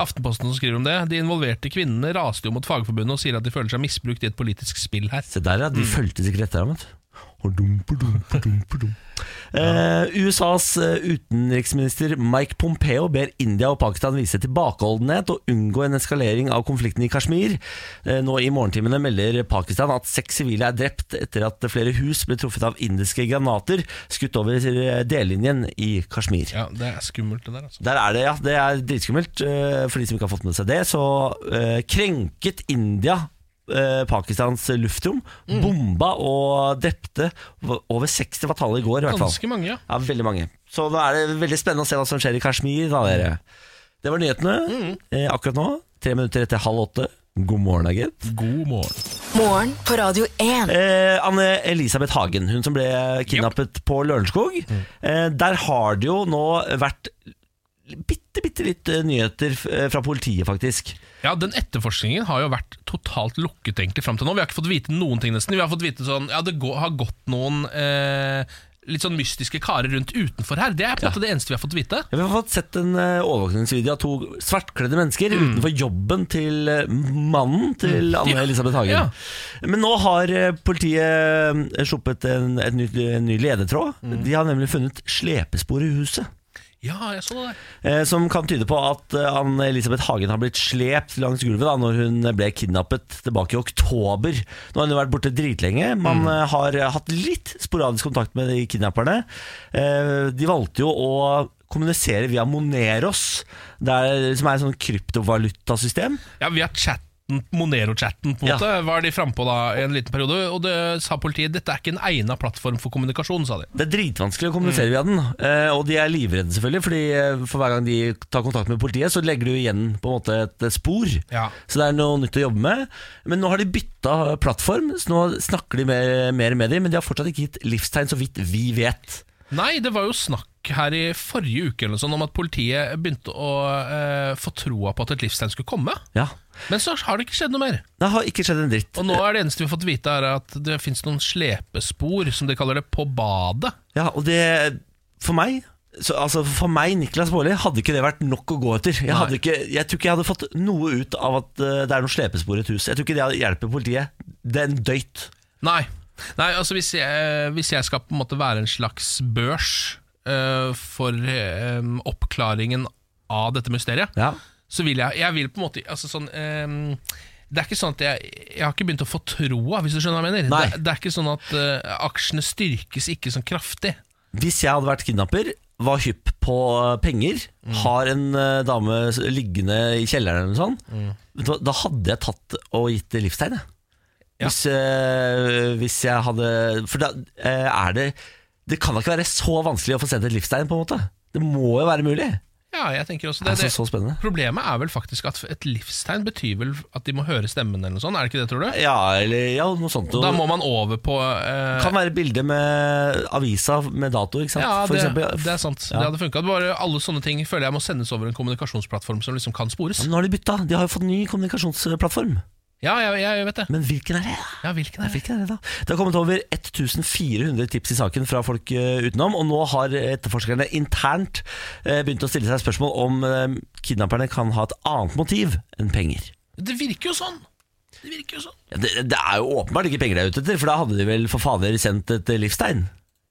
S2: Aftenposten som skriver om det. De involverte kvinnene raste jo mot Fagforbundet og sier at de føler seg misbrukt i et politisk spill her.
S1: Se der, ja. De fulgte sikkert etter ham. vet du. Hordum-pordum-pordum-pordum. [LAUGHS] Eh, USAs eh, utenriksminister Mike Pompeo ber India og Pakistan vise tilbakeholdenhet og unngå en eskalering av konflikten i Kashmir. Eh, nå i morgentimene melder Pakistan at seks sivile er drept etter at flere hus ble truffet av indiske granater skutt over eh, dellinjen i Kashmir.
S2: Ja, Det er skummelt, det der. altså
S1: Der er det, ja. Det er dritskummelt. Eh, For de som ikke har fått med seg det, så eh, krenket India eh, Pakistans luftrom, bomba og drepte over 60 fatale i går, i hvert fall.
S2: Ganske mange, ja.
S1: Ja, veldig mange. Så da er det veldig spennende å se hva som skjer i Kashmir, da, dere. Det var nyhetene eh, akkurat nå. Tre minutter etter halv åtte. God morgen, da, gitt.
S2: God morgen.
S3: Morgen på Radio 1.
S1: Eh, Anne Elisabeth Hagen, hun som ble kidnappet på Lørenskog. Eh, der har det jo nå vært bitte, bitte litt eh, nyheter f- eh, fra politiet, faktisk.
S2: Ja, Den etterforskningen har jo vært totalt lukket egentlig fram til nå. Vi har ikke fått vite noen ting, nesten. Vi har fått vite sånn Ja, det gå- har gått noen eh, litt sånn mystiske karer rundt utenfor her. Det er på en måte det eneste vi har fått vite.
S1: Vi har fått sett en eh, overvåkningsvideo av to svartkledde mennesker utenfor jobben til eh, mannen til Anne
S2: Mm. Ja.
S1: Elisabeth Hagen.
S2: Ja.
S1: Men nå har eh, politiet eh, sluppet en, et nytt- en ny ledetråd.
S2: Mm.
S1: De har nemlig funnet slepespor i huset.
S2: Ja, jeg så det der.
S1: Eh, Som kan tyde på at eh, Anne Elisabeth Hagen har blitt slept langs gulvet da når hun ble kidnappet tilbake i oktober. Nå har hun jo vært borte dritlenge. Man eh, har hatt litt sporadisk kontakt med de kidnapperne. Eh, De valgte jo å kommunisere via Moneros, der, som er et sånn kryptovalutasystem.
S2: Ja, Vi har chatten chatten, Monero-chatten, på en
S1: Ja.
S2: måte, var de frampå da i en liten periode. Og det sa politiet dette er ikke en egna plattform for kommunikasjon, sa de.
S1: Det er dritvanskelig å kommunisere via den, eh, og de er livredde selvfølgelig, fordi eh, for hver gang de tar kontakt med politiet, så legger du igjen på en måte et eh, spor.
S2: Ja.
S1: Så det er noe nytt å jobbe med. Men nå har de bytta eh, plattform, så nå snakker de mer, mer med dem, men de har fortsatt ikke gitt livstegn, så vidt vi vet.
S2: Nei, det var jo snakk her i forrige uke eller noe sånt, om at politiet begynte å eh, få troa på at et livstegn skulle komme.
S1: Ja.
S2: Men så har det ikke skjedd noe mer.
S1: Det har ikke skjedd en dritt.
S2: Og nå er det eneste vi har fått vite, er at det fins noen slepespor, som de kaller det, på badet.
S1: Ja, og det For meg så, altså For meg, Niklas Baarli, hadde ikke det vært nok å gå etter. Jeg, hadde ikke, jeg tror ikke jeg hadde fått noe ut av at eh, det er noe slepespor i et hus. Jeg tror ikke det hjelper politiet. Det er en døyt.
S2: Nei. Nei, altså hvis jeg, hvis jeg skal på en måte være en slags børs eh, for eh, oppklaringen av dette mysteriet,
S1: Ja.
S2: så vil jeg Jeg vil på en måte altså sånn, eh, Det er ikke sånn at jeg Jeg har ikke begynt å få troa, hvis du skjønner hva
S1: Nei.
S2: jeg mener. Det, det er ikke sånn at eh, aksjene styrkes ikke sånn kraftig.
S1: Hvis jeg hadde vært kidnapper, var hypp på eh, penger,
S2: Mm.
S1: har en eh, dame s- liggende i kjelleren eller noe sånt,
S2: Mm.
S1: da, da hadde jeg tatt og gitt det livstegn. jeg.
S2: Ja.
S1: Hvis, eh, hvis jeg hadde For da eh, er det Det kan da ikke være så vanskelig å få sendt et livstegn, på en måte. Det må jo være mulig.
S2: Ja, jeg tenker også
S1: Det
S2: det.
S1: er
S2: det.
S1: Altså, så spennende.
S2: Problemet er vel faktisk at et livstegn betyr vel at de må høre stemmen, eller noe sånt. Er det ikke det, tror du?
S1: Ja, eller ja, noe sånt.
S2: Da
S1: Det
S2: må man over på eh,
S1: kan være bilde med avisa med dato, ikke sant?
S2: Ja,
S1: For
S2: det,
S1: eksempel.
S2: det er sant.
S1: Ja.
S2: Det hadde funka. Bare alle sånne ting føler jeg må sendes over en kommunikasjonsplattform som liksom kan spores.
S1: Nå har de bytta. De har jo fått ny kommunikasjonsplattform.
S2: Ja, jeg, jeg vet det.
S1: Men hvilken er det? da?
S2: Ja, hvilken
S1: Nei,
S2: er det?
S1: hvilken er det da? Det har kommet over 1400 tips i saken fra folk eh, utenom, og nå har eh, etterforskerne internt eh, begynt å stille seg spørsmål om eh, kidnapperne kan ha et annet motiv enn penger.
S2: Det virker jo sånn! Det virker jo sånn.
S1: Ja, Det, det er jo åpenbart ikke penger de er ute etter, for da hadde de vel for fader sendt et eh, livstegn.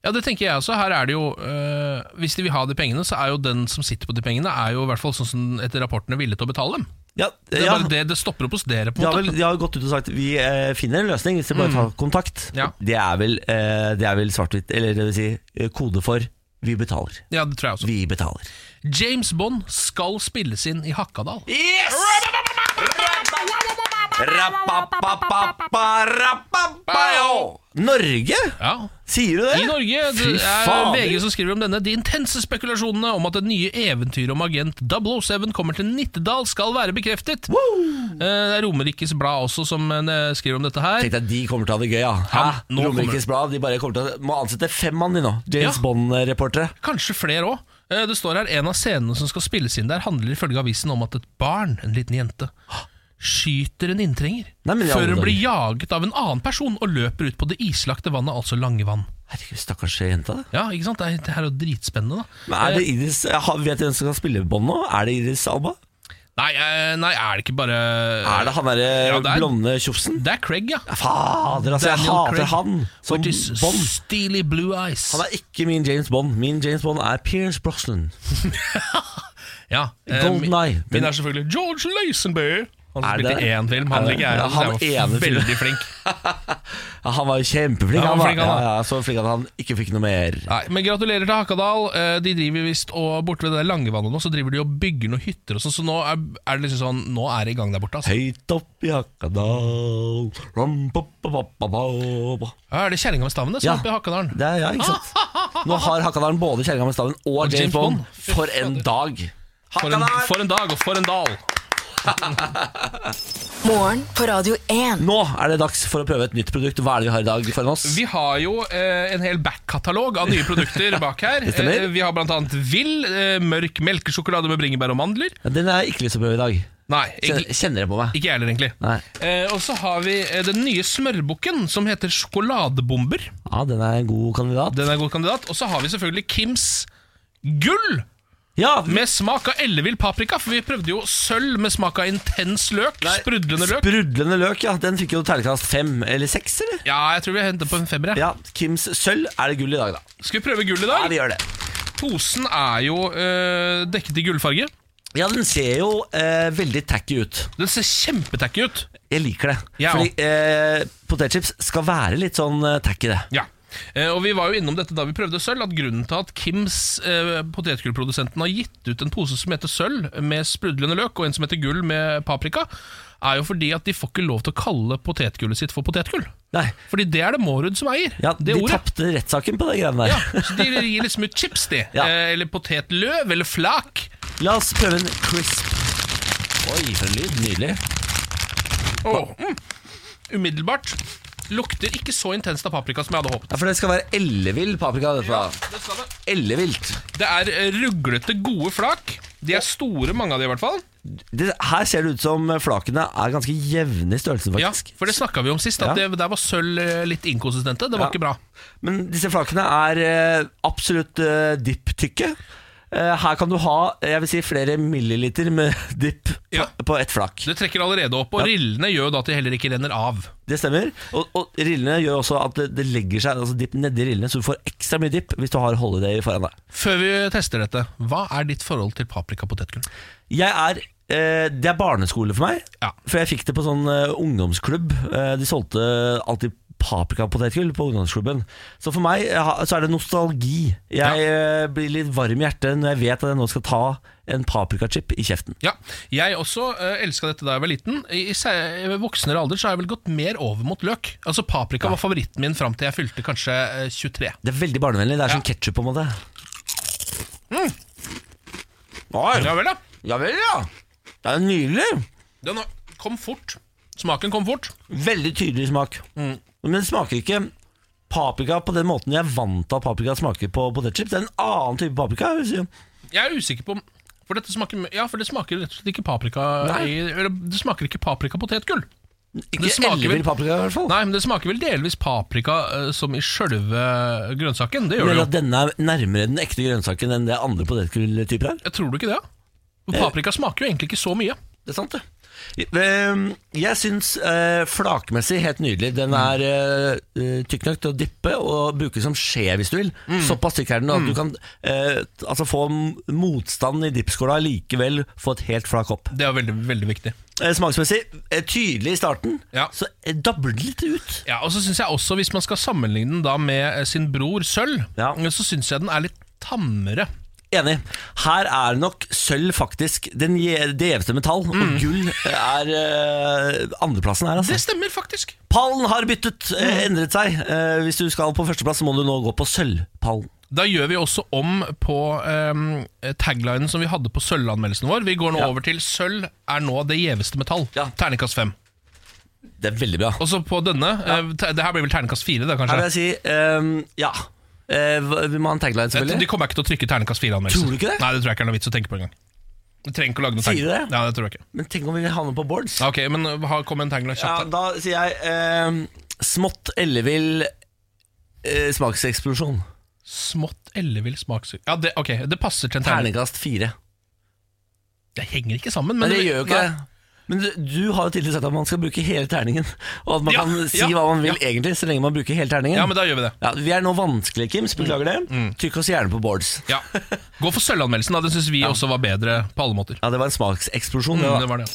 S2: Ja, det tenker jeg også. Her er det jo øh, Hvis de vil ha de pengene, så er jo den som sitter på de pengene, Er jo i hvert fall sånn som etter rapportene villig til å betale dem.
S1: Ja, eh,
S2: Det, er
S1: ja.
S2: bare det, det stopper opp hos dere,
S1: De
S2: på en
S1: har,
S2: måte.
S1: vel, de har jo gått ut og sagt vi eh, finner en løsning hvis dere bare tar kontakt.
S2: Mm. Ja.
S1: Det er vel, eh, det er vel svart-hvitt, eller det vil si eh, kode for vi betaler.
S2: Ja, det tror jeg også.
S1: Vi betaler.
S2: James Bond skal spilles inn i Hakadal.
S1: Yes! Norge?
S2: Ja.
S1: Sier du det? [LAUGHS]
S2: I Norge
S1: Fy
S2: det er
S1: faen.
S2: VG som skriver om denne. De intense spekulasjonene om at det nye eventyret om agent 007 kommer til Nittedal, skal være bekreftet. Eh, Det er Romerikes Blad også som eh, skriver om dette her.
S1: Tenk deg, de kommer til å ha det gøy, ja. Hæ?
S2: Ja, nå kommer-
S1: Romerikes Blad, de bare kommer til å må ansette fem mann, de nå. James
S2: Ja.
S1: Bond-reportere.
S2: Kanskje flere òg. Det står her en av scenene som skal spilles inn der, handler ifølge avisen om at et barn, en liten jente, skyter en inntrenger.
S1: Nei, men i alle
S2: før hun
S1: dager.
S2: blir jaget av en annen person og løper ut på det islagte vannet, altså Langevann.
S1: Herregud, stakkars jenta.
S2: Ja, ikke sant? Det er- Det her er jo dritspennende, da.
S1: Men er det Iris, har- vet du hvem som skal spille Bond nå? Er det Iris Alba?
S2: Nei, eh, nei, er det ikke bare
S1: Er det han derre
S2: Ja, det er-
S1: blonde tjofsen?
S2: Det er Craig, ja.
S1: Fader, altså, jeg
S2: Daniel
S1: hater
S2: Craig.
S1: han som
S2: With his
S1: Bond.
S2: steely blue eyes.
S1: Han er ikke min James Bond. Min James Bond er Pierce Brosnan.
S2: Ja, eh,
S1: Golden
S2: min-
S1: Eye.
S2: Min er selvfølgelig George Lazenby. Han
S1: Er
S2: spilte
S1: det-
S2: i én film.
S1: er
S2: Han
S1: det-
S2: ligger
S1: ja,
S2: her.
S1: han
S2: Han er
S1: ene
S2: jo
S1: filmen.
S2: veldig flink.
S1: Ja, han var jo kjempeflink.
S2: Ja, han
S1: han
S2: var
S1: var
S2: flink, han, da.
S1: ja, ja, så flink at han ikke fikk noe mer.
S2: Nei, Men gratulerer til Hakadal. Eh, De driver visst og borte ved det der Langevannet nå, så driver de og bygger noen hytter og sånn, så nå er, er det liksom sånn Nå er det i gang der borte, altså.
S1: Høyt opp i Hakadal rom, pa, pa, pa, pa, pa, pa.
S2: Ja, er det kjerringa med stavene som
S1: Ja.
S2: er oppe i Hakadalen?
S1: Det er ja, ikke sant? Nå har Hakadalen både kjerringa med staven og
S2: Og
S1: James
S2: James
S1: Bond.
S2: Bond.
S1: For en dag!
S2: For en,
S1: Hakadal!
S2: for en dag og for en dal.
S3: Morgen på Radio 1.
S1: Nå er det dags for å prøve et nytt produkt. Hva er det vi har i dag foran oss?
S2: Vi har jo eh, en hel back-katalog av nye produkter bak her.
S1: [LAUGHS] Det stemmer.
S2: Eh, vi har blant annet Vill, eh, mørk melkesjokolade med bringebær og mandler.
S1: Ja, Den er jeg ikke lyst til å prøve i dag.
S2: Nei,
S1: Kjenner,
S2: egentlig,
S1: kjenner jeg på meg.
S2: ikke jeg heller, egentlig.
S1: Nei.
S2: Eh, og så har vi eh, den nye smørbukken som heter sjokoladebomber.
S1: Ja, den er en god kandidat.
S2: Den er en god kandidat. Og så har vi selvfølgelig Kims gull
S1: Ja,
S2: med smak av ellevill paprika. For vi prøvde jo sølv med smak av intens løk. sprudlende løk.
S1: Sprudlende løk, ja. Den fikk jo terningkast fem eller seks, eller?
S2: ja, jeg tror vi henter på en femmer. jeg.
S1: Ja, Kims sølv er det gull i dag, da.
S2: Skal vi prøve gull i
S1: Ja,
S2: dag?
S1: vi gjør det.
S2: Posen er jo øh, dekket i gullfarge.
S1: Ja, den ser jo eh, veldig tacky ut.
S2: Den ser kjempetacky ut.
S1: Jeg liker det.
S2: Ja.
S1: Fordi eh, potetchips skal være litt sånn eh, tacky, det.
S2: Ja Eh, Og Vi var jo innom dette da vi prøvde sølv, at grunnen til at Kims, eh, potetgullprodusenten, har gitt ut en pose som heter sølv med sprudlende løk, og en som heter gull med paprika, er jo fordi at de får ikke lov til å kalle potetgullet sitt for potetgull.
S1: Nei,
S2: Fordi det er det Mårud som eier.
S1: ja,
S2: det
S1: De tapte rettssaken på det greiene der.
S2: Ja, så de gir liksom ut chips, de.
S1: Ja.
S2: Eh, Eller potetløv, eller flak.
S1: La oss prøve en crisp. Oi, for en lyd. Nydelig.
S2: Åh, mm. Umiddelbart lukter ikke så intenst av paprika som jeg hadde håpet.
S1: Ja, For det skal være ellevill paprika, dette da.
S2: Det skal det.
S1: Ellevilt.
S2: Det er eh, ruglete, gode flak. De er store, mange av de i hvert fall.
S1: Det, her ser det ut som flakene er ganske jevne i størrelsen,
S2: Ja,
S1: faktisk.
S2: For det snakka vi om sist, at
S1: Ja.
S2: det, der var sølv eh, litt inkonsistente. Det var
S1: Ja.
S2: ikke bra.
S1: Men disse flakene er eh, absolutt eh, dipptykke. Eh, her kan du ha eh, jeg vil si, flere milliliter med [LAUGHS] dipp på,
S2: Ja.
S1: på ett flak.
S2: Det trekker allerede opp, og rillene gjør jo da at de heller ikke renner av.
S1: Det stemmer. Og, og rillene gjør også at det, det legger seg altså dipp nedi rillene, så du får ekstra mye dipp hvis du har holiday foran deg.
S2: Før vi tester dette, hva er ditt forhold til paprika og potetgull?
S1: Jeg er eh, Det er barneskole for meg.
S2: Ja.
S1: For jeg fikk det på sånn eh, ungdomsklubb. Eh, de solgte alltid paprikapotetgull på ungdomsklubben. Så for meg eh, ha- så er det nostalgi. Jeg eh, blir litt varm i hjertet når jeg vet at jeg nå skal ta en paprikachip i kjeften.
S2: Ja, jeg også uh, elska dette da jeg var liten. I, i se- i voksnere alder så har jeg vel gått mer over mot løk. Altså Paprika var favoritten min fram til jeg fylte kanskje eh, 23.
S1: Det er veldig barnevennlig. Det er som ketsjup, på en måte.
S2: Mm. Ja vel, da.
S1: Ja vel, ja. Det er nydelig.
S2: Den kom fort. Smaken kom fort.
S1: Veldig tydelig smak. Men det smaker ikke paprika på den måten jeg er vant til at paprika smaker på potetchips. Det er en annen type paprika. jeg vil si.
S2: Jeg er usikker på om for dette smaker, ja, for det smaker rett og slett ikke paprika
S1: Nei.
S2: i, Eller det smaker ikke paprikapotetgull.
S1: Ikke
S2: smaker vel-
S1: ellevill paprika, i hvert fall.
S2: Nei, men det smaker vel delvis paprika eh, som i sjølve grønnsaken. Det gjør det
S1: Mener
S2: jo.
S1: at denne er nærmere den ekte grønnsaken enn det andre potetgulltyper er?
S2: Jeg tror du ikke det? For Paprika smaker jo egentlig ikke så mye.
S1: Det er sant, det. Ehm, Jeg syns eh, flakmessig helt nydelig. Den er eh, eh, tykk nok til å dyppe og bruke som skje hvis du vil. Såpass tykk er den at du kan eh, altså få m- motstand i dippskåla likevel få et helt flak opp.
S2: Det er veldig, veldig viktig.
S1: Eh, Smaksmessig eh, tydelig i starten,
S2: Ja.
S1: så eh, dabler det litt ut.
S2: Ja, og så synes jeg også Hvis man skal sammenligne den da med eh, sin bror Sølv, eh,
S1: Ja.
S2: så syns jeg den er litt tammere.
S1: Enig. Her er nok sølv faktisk den je- det gjeveste metall, og gull er eh, andreplassen her, altså.
S2: Det stemmer faktisk.
S1: Pallen har byttet, eh, endret seg. Eh, hvis du skal på førsteplass, så må du nå gå på sølvpallen.
S2: Da gjør vi også om på ehm, taglinen som vi hadde på sølvanmeldelsen vår. Vi går nå over til 'Sølv er nå det gjeveste metall'.
S1: Ja.
S2: Terningkast fem.
S1: Det er veldig bra.
S2: Og så på denne eh, te- Det her blir vel terningkast fire, da,
S1: Her vil
S2: kanskje?
S1: jeg si ehm, ja. Eh, hva- vi må ha en tagline,
S2: de
S1: selvfølgelig.
S2: kommer ikke til å trykke terningkast fire-anmeldelsen.
S1: Tror du ikke det?
S2: Nei, det tror jeg ikke er noe vits å tenke på engang. Du trenger ikke å lage noe
S1: Sier
S2: tagline.
S1: du det?
S2: Ja, det tror jeg ikke.
S1: Men tenk om vi havner på boards.
S2: Ja, Ok, men eh, ha- kom med en tagline
S1: Ja,
S2: kjapt.
S1: da sier jeg ehm, smått ellevill eh, smakseksplosjon.
S2: da. Smått ellevill smakssug... Ja, det, ok, det passer til en terning.
S1: Terningkast fire.
S2: Det henger ikke sammen, men
S1: Men det gjør jo ikke
S2: Nei.
S1: det. Men du, du har jo tidligere sagt at man skal bruke hele terningen. Og at man
S2: Ja,
S1: kan si
S2: ja,
S1: hva man vil
S2: ja.
S1: egentlig, så lenge man bruker hele terningen.
S2: Ja, men Mm, da gjør vi det.
S1: Ja, vi er nå vanskelige, Kims. Beklager det. Trykk oss gjerne på boards. [LAUGHS]
S2: Ja. Gå for sølvanmeldelsen, da. Den syns vi også var bedre på alle måter.
S1: Ja, det var en smakseksplosjon. det
S2: Mm,
S1: da.
S2: det var det.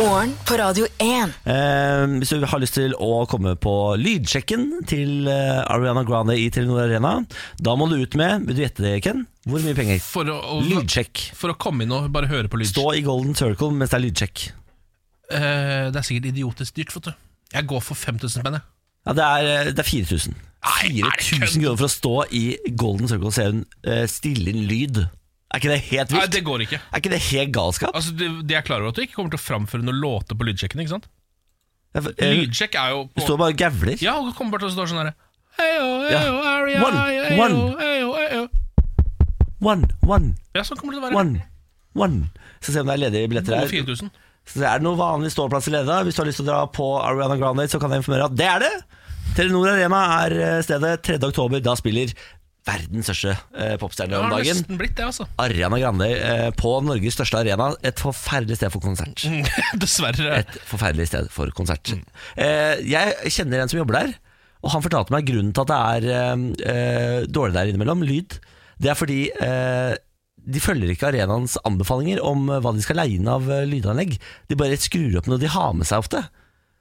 S3: Morgen på Radio 1.
S1: Eh, hvis du har lyst til å komme på lydsjekken til eh, Ariana Grande i Telenor Arena, da må du ut med Vil du gjette det, Ken? Hvor mye penger?
S2: For å, å,
S1: Lydsjekk.
S2: for å komme inn og bare høre på lyd.
S1: Stå i Golden Circle mens det er lydsjekk.
S2: Eh, det er sikkert idiotisk dyrt, vet du. Jeg går for 5000 spenn, jeg.
S1: Ja, det er, eh, det er 4000.
S2: Nei, er det
S1: 4000 kroner for å stå i Golden Circle og se hun eh, stille inn lyd. Er ikke det helt
S2: Nei,
S1: vilt?
S2: det går ikke.
S1: Er ikke det helt galskap?
S2: Altså, det, det er klar over at du ikke kommer til å framføre noen låter på lydsjekken, ikke sant?
S1: Jeg- jeg-
S2: Lydsjekk er jo
S1: Du
S2: på
S1: står bare og gavler.
S2: Ja, hun kommer bare til å stå sånn herre Heyo, heyo,
S1: Ja.
S2: Aria,
S1: One,
S2: heyo,
S1: one.
S2: heyo, heyo.
S1: One, one,
S2: Ja, sånn kommer det til å være.
S1: one, one. Så se om det er ledige billetter
S2: Gode
S1: her.
S2: 4000.
S1: Så det er noen vanlige ståplasser ledige. da. Hvis du har lyst til å dra på Ariana Grande, så kan jeg informere at det er det! Telenor Arena er eh, stedet 3. oktober. Da spiller verdens største eh, popstjerne
S2: Det
S1: om
S2: har
S1: dagen.
S2: nesten blitt det, altså. [LAUGHS]
S1: Ariana Grande eh, på Norges største arena. Et forferdelig sted for konsert.
S2: Dessverre.
S1: Et forferdelig sted for konsert.
S2: Mm.
S1: Eh, jeg kjenner en som jobber der, og han fortalte meg grunnen til at det er eh, eh, dårlig der innimellom, lyd. Det er fordi eh, de følger ikke arenaens anbefalinger om eh, hva de skal leie inn av eh, lydanlegg. De bare skrur opp noe de har med seg ofte.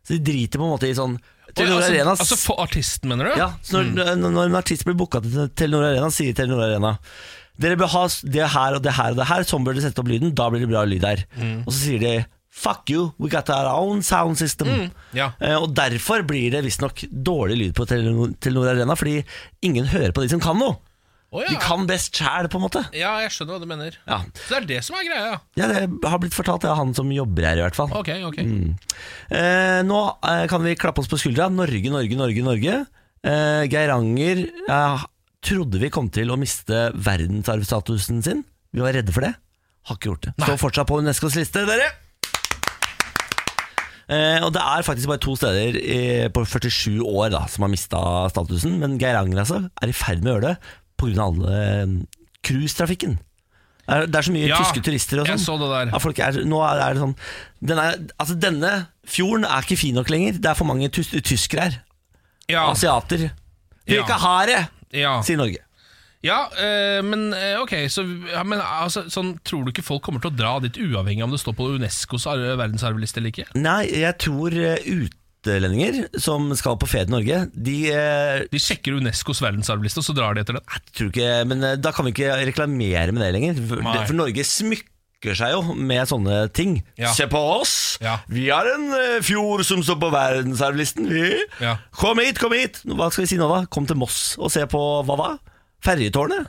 S1: Så de driter på en måte i sånn
S2: Oi,
S1: Telenor
S2: altså,
S1: Arena
S2: altså for artisten, mener du?
S1: ja, så når,
S2: Mm.
S1: når en artist blir booka til Telenor Arena, sier Telenor Arena Dere bør ha s- det her og det her og det her, sånn bør dere sette opp lyden, da blir det bra lyd her.
S2: Mm.
S1: Og så sier de fuck you, we got our own sound system.
S2: Mm, ja.
S1: Eh, og derfor blir det visstnok dårlig lyd på Telenor, Telenor Arena, fordi ingen hører på de som kan noe.
S2: Å, ja.
S1: De kan best sjæl, på en måte.
S2: ja, jeg skjønner hva du mener.
S1: Ja.
S2: Så det er det som er greia, ja.
S1: ja, det har blitt fortalt, det er han som jobber her, i hvert fall.
S2: Ok, ok.
S1: Mm. Eh, nå eh, kan vi klappe oss på skuldra. Norge, Norge, Norge, Norge. Eh, Geiranger eh, trodde vi kom til å miste verdensarvstatusen sin. Vi var redde for det. Har ikke gjort det. Står fortsatt på UNESCOs liste, dere! Eh, og det er faktisk bare to steder i, på 47 år da, som har mista statusen. Men Geiranger altså, er i ferd med å gjøre det pga. alle eh, cruisetrafikken. Det er- det er så mye
S2: Ja,
S1: tyske turister og
S2: jeg
S1: sånn.
S2: så det der.
S1: Ja, folk er, nå er er det sånn denne, altså denne fjorden er ikke fin nok lenger. Det er for mange tys tyskere her.
S2: Ja,
S1: Asiater. Vi vil
S2: Ah. Ja. Ah.
S1: ikke ha det,
S2: ja.
S1: sier Norge.
S2: Ja, eh, men eh, ok, så ja, men, altså, sånn, tror du ikke folk kommer til å dra dit uavhengig om det står på UNESCOs ar- verdensarvliste eller ikke?
S1: Nei, jeg tror eh, utlendinger som skal på ferie til Norge, de eh,
S2: De sjekker UNESCOs verdensarvliste, og så drar de etter den.
S1: jeg tror ikke, Men eh, da kan vi ikke reklamere med det lenger. For,
S2: Nei.
S1: for Norge smykker seg jo med sånne ting.
S2: Ja.
S1: Se på oss!
S2: Ja.
S1: Vi har en eh, fjord som står på verdensarvlisten, vi.
S2: Ja.
S1: Kom hit, kom hit! Hva skal vi si nå, da? Kom til Moss og se på hva da? Ferjetårnet?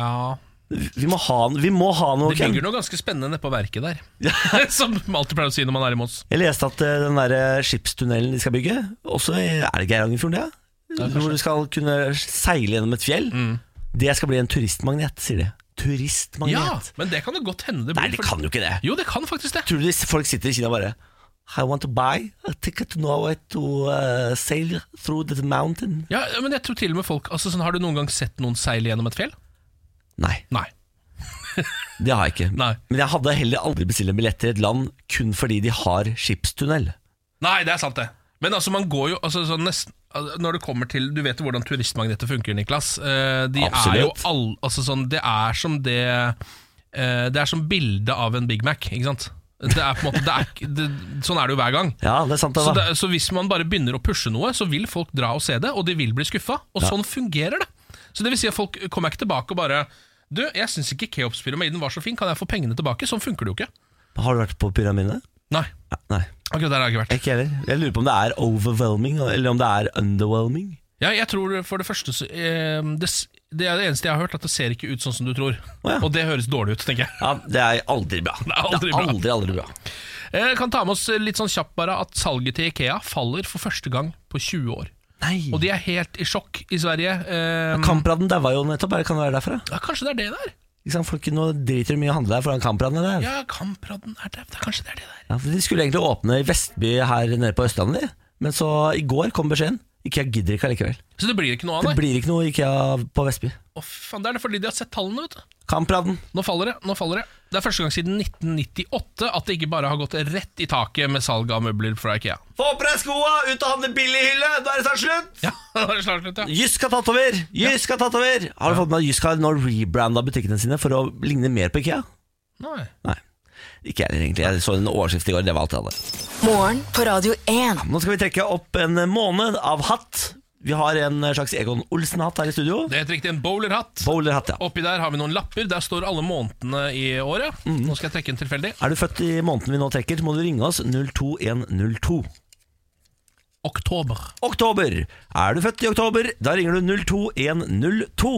S2: Ja,
S1: Vi må ha, vi må ha noe
S2: Det ligger noe ganske spennende nede på verket der,
S1: [LAUGHS]
S2: [LAUGHS] som man alltid pleier å si når man er i Moss.
S1: Jeg leste at eh, den der skipstunnelen de skal bygge Også i- er det Geirangerfjorden det? Ja, Hvor du skal kunne seile gjennom et fjell
S2: Mm.
S1: Det skal bli en turistmagnet, sier de
S2: Ja,
S1: Turistmagnet?
S2: men det kan det godt hende det
S1: Nei,
S2: blir.
S1: de
S2: for-
S1: kan jo ikke det
S2: Jo, det kan faktisk det.
S1: Tror du de, folk sitter i Kina bare I want to buy a ticket to Norway to eh, sail through the mountain
S2: Ja, men jeg tror til og med folk altså, sånn, Har du noen gang sett noen seile gjennom et fjell?
S1: Nei,
S2: Nei.
S1: det har jeg ikke
S2: Nei.
S1: Men jeg hadde heller aldri bestilt en billett til et land Kun fordi de har skipstunnel
S2: Nei, det er sant det. Men altså, man går jo altså, sånn nesten altså, når det kommer til, Du vet jo hvordan turistmagneter funker, Niklas. Eh, de er jo
S1: Absolutt.
S2: all, altså, sånn, Det er som det eh, Det er som bildet av en Big Mac, ikke sant? Det er på en måte, det er, ikke- det, sånn er det jo hver gang.
S1: Ja, det er sant det
S2: Så,
S1: da
S2: det, så hvis man bare begynner å pushe noe, så vil folk dra og se det, og de vil bli skuffa. Og sånn fungerer det. Så det vil si at folk kommer ikke tilbake og bare Du, jeg syns ikke Keops-pyramiden var så fin, kan jeg få pengene tilbake? Sånn funker det jo ikke.
S1: Har du vært på pyramidene?
S2: Nei,
S1: Nei
S2: akkurat der har jeg ikke vært.
S1: Ikke heller. Jeg lurer på om det er overwhelming, eller om det er underwhelming.
S2: Ja, jeg tror for det første så, eh, det, s- det er det eneste jeg har hørt, at det ser ikke ut sånn som du tror.
S1: Å, ja.
S2: Og det høres dårlig ut, tenker jeg.
S1: Ja, Det er aldri bra. Det
S2: er aldri bra.
S1: aldri, aldri bra.
S2: Eh, Jeg kan ta med oss litt sånn kjapt bare at salget til Ikea faller for første gang på 20 år.
S1: Nei.
S2: Og de er helt i sjokk i Sverige. Eh,
S1: Kampraden daua jo nettopp, er det kan det være derfra?
S2: ja, kanskje det er det der?
S1: Ikke sant? Folk nå driter de mye i å handle der foran Kampradene der. Ja.
S2: Ja, Kampradden er der. Det er Kanskje det er det der.
S1: for de skulle egentlig åpne i Vestby her nede på Østlandet, de. men så i går kom beskjeden. Ikea gidder ikke allikevel.
S2: Så det blir ikke noe av,
S1: Det
S2: nei?
S1: blir ikke noe Ikea på Vestby.
S2: Å, faen, det er det fordi de har sett tallene, vet du.
S1: Kampraden.
S2: Nå faller det. nå faller Det Det er første gang siden 1998 at det ikke bare har gått rett i taket med salg av møbler fra Ikea.
S1: Få på deg skoa, ut og handle billighylle, da er det snart slutt!
S2: [LAUGHS] Ja, det er snart slutt, ja.
S1: Jysk har tatt over! Jysk har tatt over! Har du fått med at Jysk har nå rebranda butikkene sine for å ligne mer på Ikea?
S2: Nei.
S1: Nei, ikke jeg heller egentlig. Jeg så en oversikt i går, det var alt jeg hadde.
S3: Morgen på Radio 1.
S1: Nå skal vi trekke opp en måned av hatt. Vi har en slags Egon Olsen-hatt her i studio.
S2: Det heter riktig en bowlerhatt.
S1: Bowlerhatt, ja.
S2: Oppi der har vi noen lapper. Der står alle månedene i året.
S1: Mm.
S2: Nå skal jeg trekke en tilfeldig.
S1: Er du født i måneden vi nå trekker, så må du ringe oss 02102.
S2: Oktober.
S1: Oktober! Er du født i oktober, da ringer du 02102.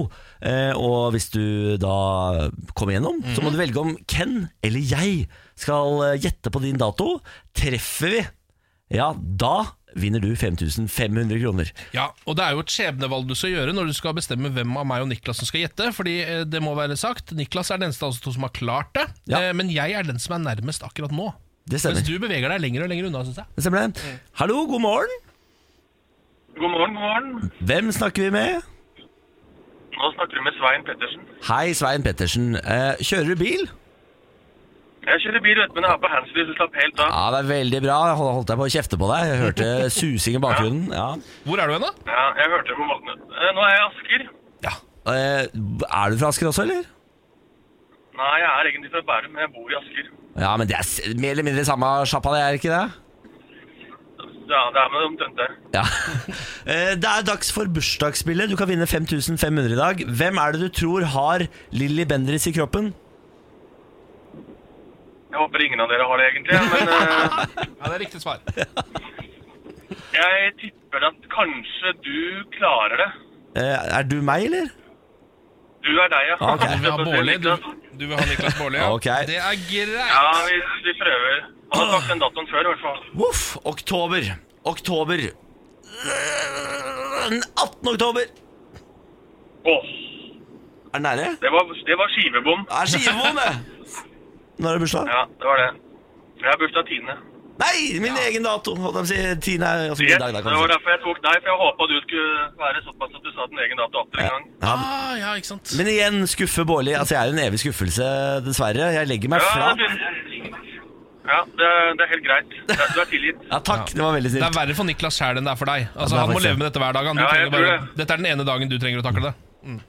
S1: Eh, og hvis du da kommer gjennom, så må du velge om Ken eller jeg skal eh, gjette på din dato. Treffer vi, ja, da vinner du 5500 kroner.
S2: Ja, og det er jo et skjebnevalg du skal gjøre når du skal bestemme hvem av meg og Niklas som skal gjette. Fordi eh, det må være sagt, Niklas er den eneste av oss to som har klart det.
S1: Ja.
S2: Eh, Men jeg er den som er nærmest akkurat nå.
S1: Det stemmer.
S2: Mens du beveger deg lenger og lenger unna, syns jeg.
S1: Det stemmer det. Hallo, god morgen.
S6: God morgen, god morgen.
S1: Hvem snakker vi med?
S6: Nå snakker vi med Svein Pettersen.
S1: Hei, Svein Pettersen. Eh, kjører du bil?
S6: Jeg kjører bil, vet du, men jeg er på handsfree, så slapp helt av.
S1: Ja, det er veldig bra. Jeg Hold, holdt jeg på å kjefte på deg. Jeg hørte susing i bakgrunnen. Ja.
S2: Hvor er du hen, da?
S6: Ja, jeg hørte det på måten. Eh, Nå er jeg i Asker.
S1: Eh, er du fra Asker også, eller?
S6: Nei, jeg er egentlig fra Bærum, men jeg bor i Asker.
S1: Ja, men det er s- mer eller mindre samme sjappa, det er ikke det?
S6: Ja, det er med omtrent det.
S1: Ja. [LAUGHS] Eh, Det er dags for bursdagsspillet. Du kan vinne 5500 i dag. Hvem er det du tror har Lilly Bendriss i kroppen?
S6: Jeg håper ingen av dere har det egentlig, men eh,
S2: Ja, det er riktig svar.
S6: jeg tipper at kanskje du klarer det.
S1: Eh, Er du meg, eller?
S6: Du er deg, ja.
S1: Ok.
S2: Du vil ha Bårli, du, du vil ha Niklas Bårli, ja.
S1: Ok.
S2: Det er
S6: Ja,
S2: greit.
S6: vi, vi prøver. Han har sagt den datoen før, i hvert fall.
S1: Voff! Oktober. Oktober. Eh, Den 18. oktober.
S6: Åh,
S1: Er den nære?
S6: det var, det var skivebom.
S1: Det er skivebom, det! Når er det bursdag?
S6: Ja, det var det. Jeg har bursdag 10.
S1: Nei, min egen dato! Holdt jeg på å si. Tine er også
S6: Yes,
S1: min dag, da,
S6: det var
S1: kanskje.
S6: derfor jeg tok deg, for jeg håpa du skulle være såpass at du sa din egen dato atter en gang.
S1: Ja.
S2: Ah, ja, ikke sant.
S1: Men igjen, skuffe Bårli. Altså, jeg er en evig skuffelse, dessverre. Jeg legger meg
S6: Ja,
S1: fra.
S6: det, ja det, det er helt greit. Ja, Du er tilgitt.
S1: Ja, takk. Det var veldig
S2: Det er
S1: snilt.
S2: verre for Niklas sjæl enn det er for deg. Altså,
S1: det er
S2: han må
S1: faktisk
S2: leve
S1: det.
S2: med dette hver dag. Han. Du
S6: Ja, jeg
S2: trenger bare,
S6: tror
S2: dette er den ene dagen du trenger å takle det. [LAUGHS]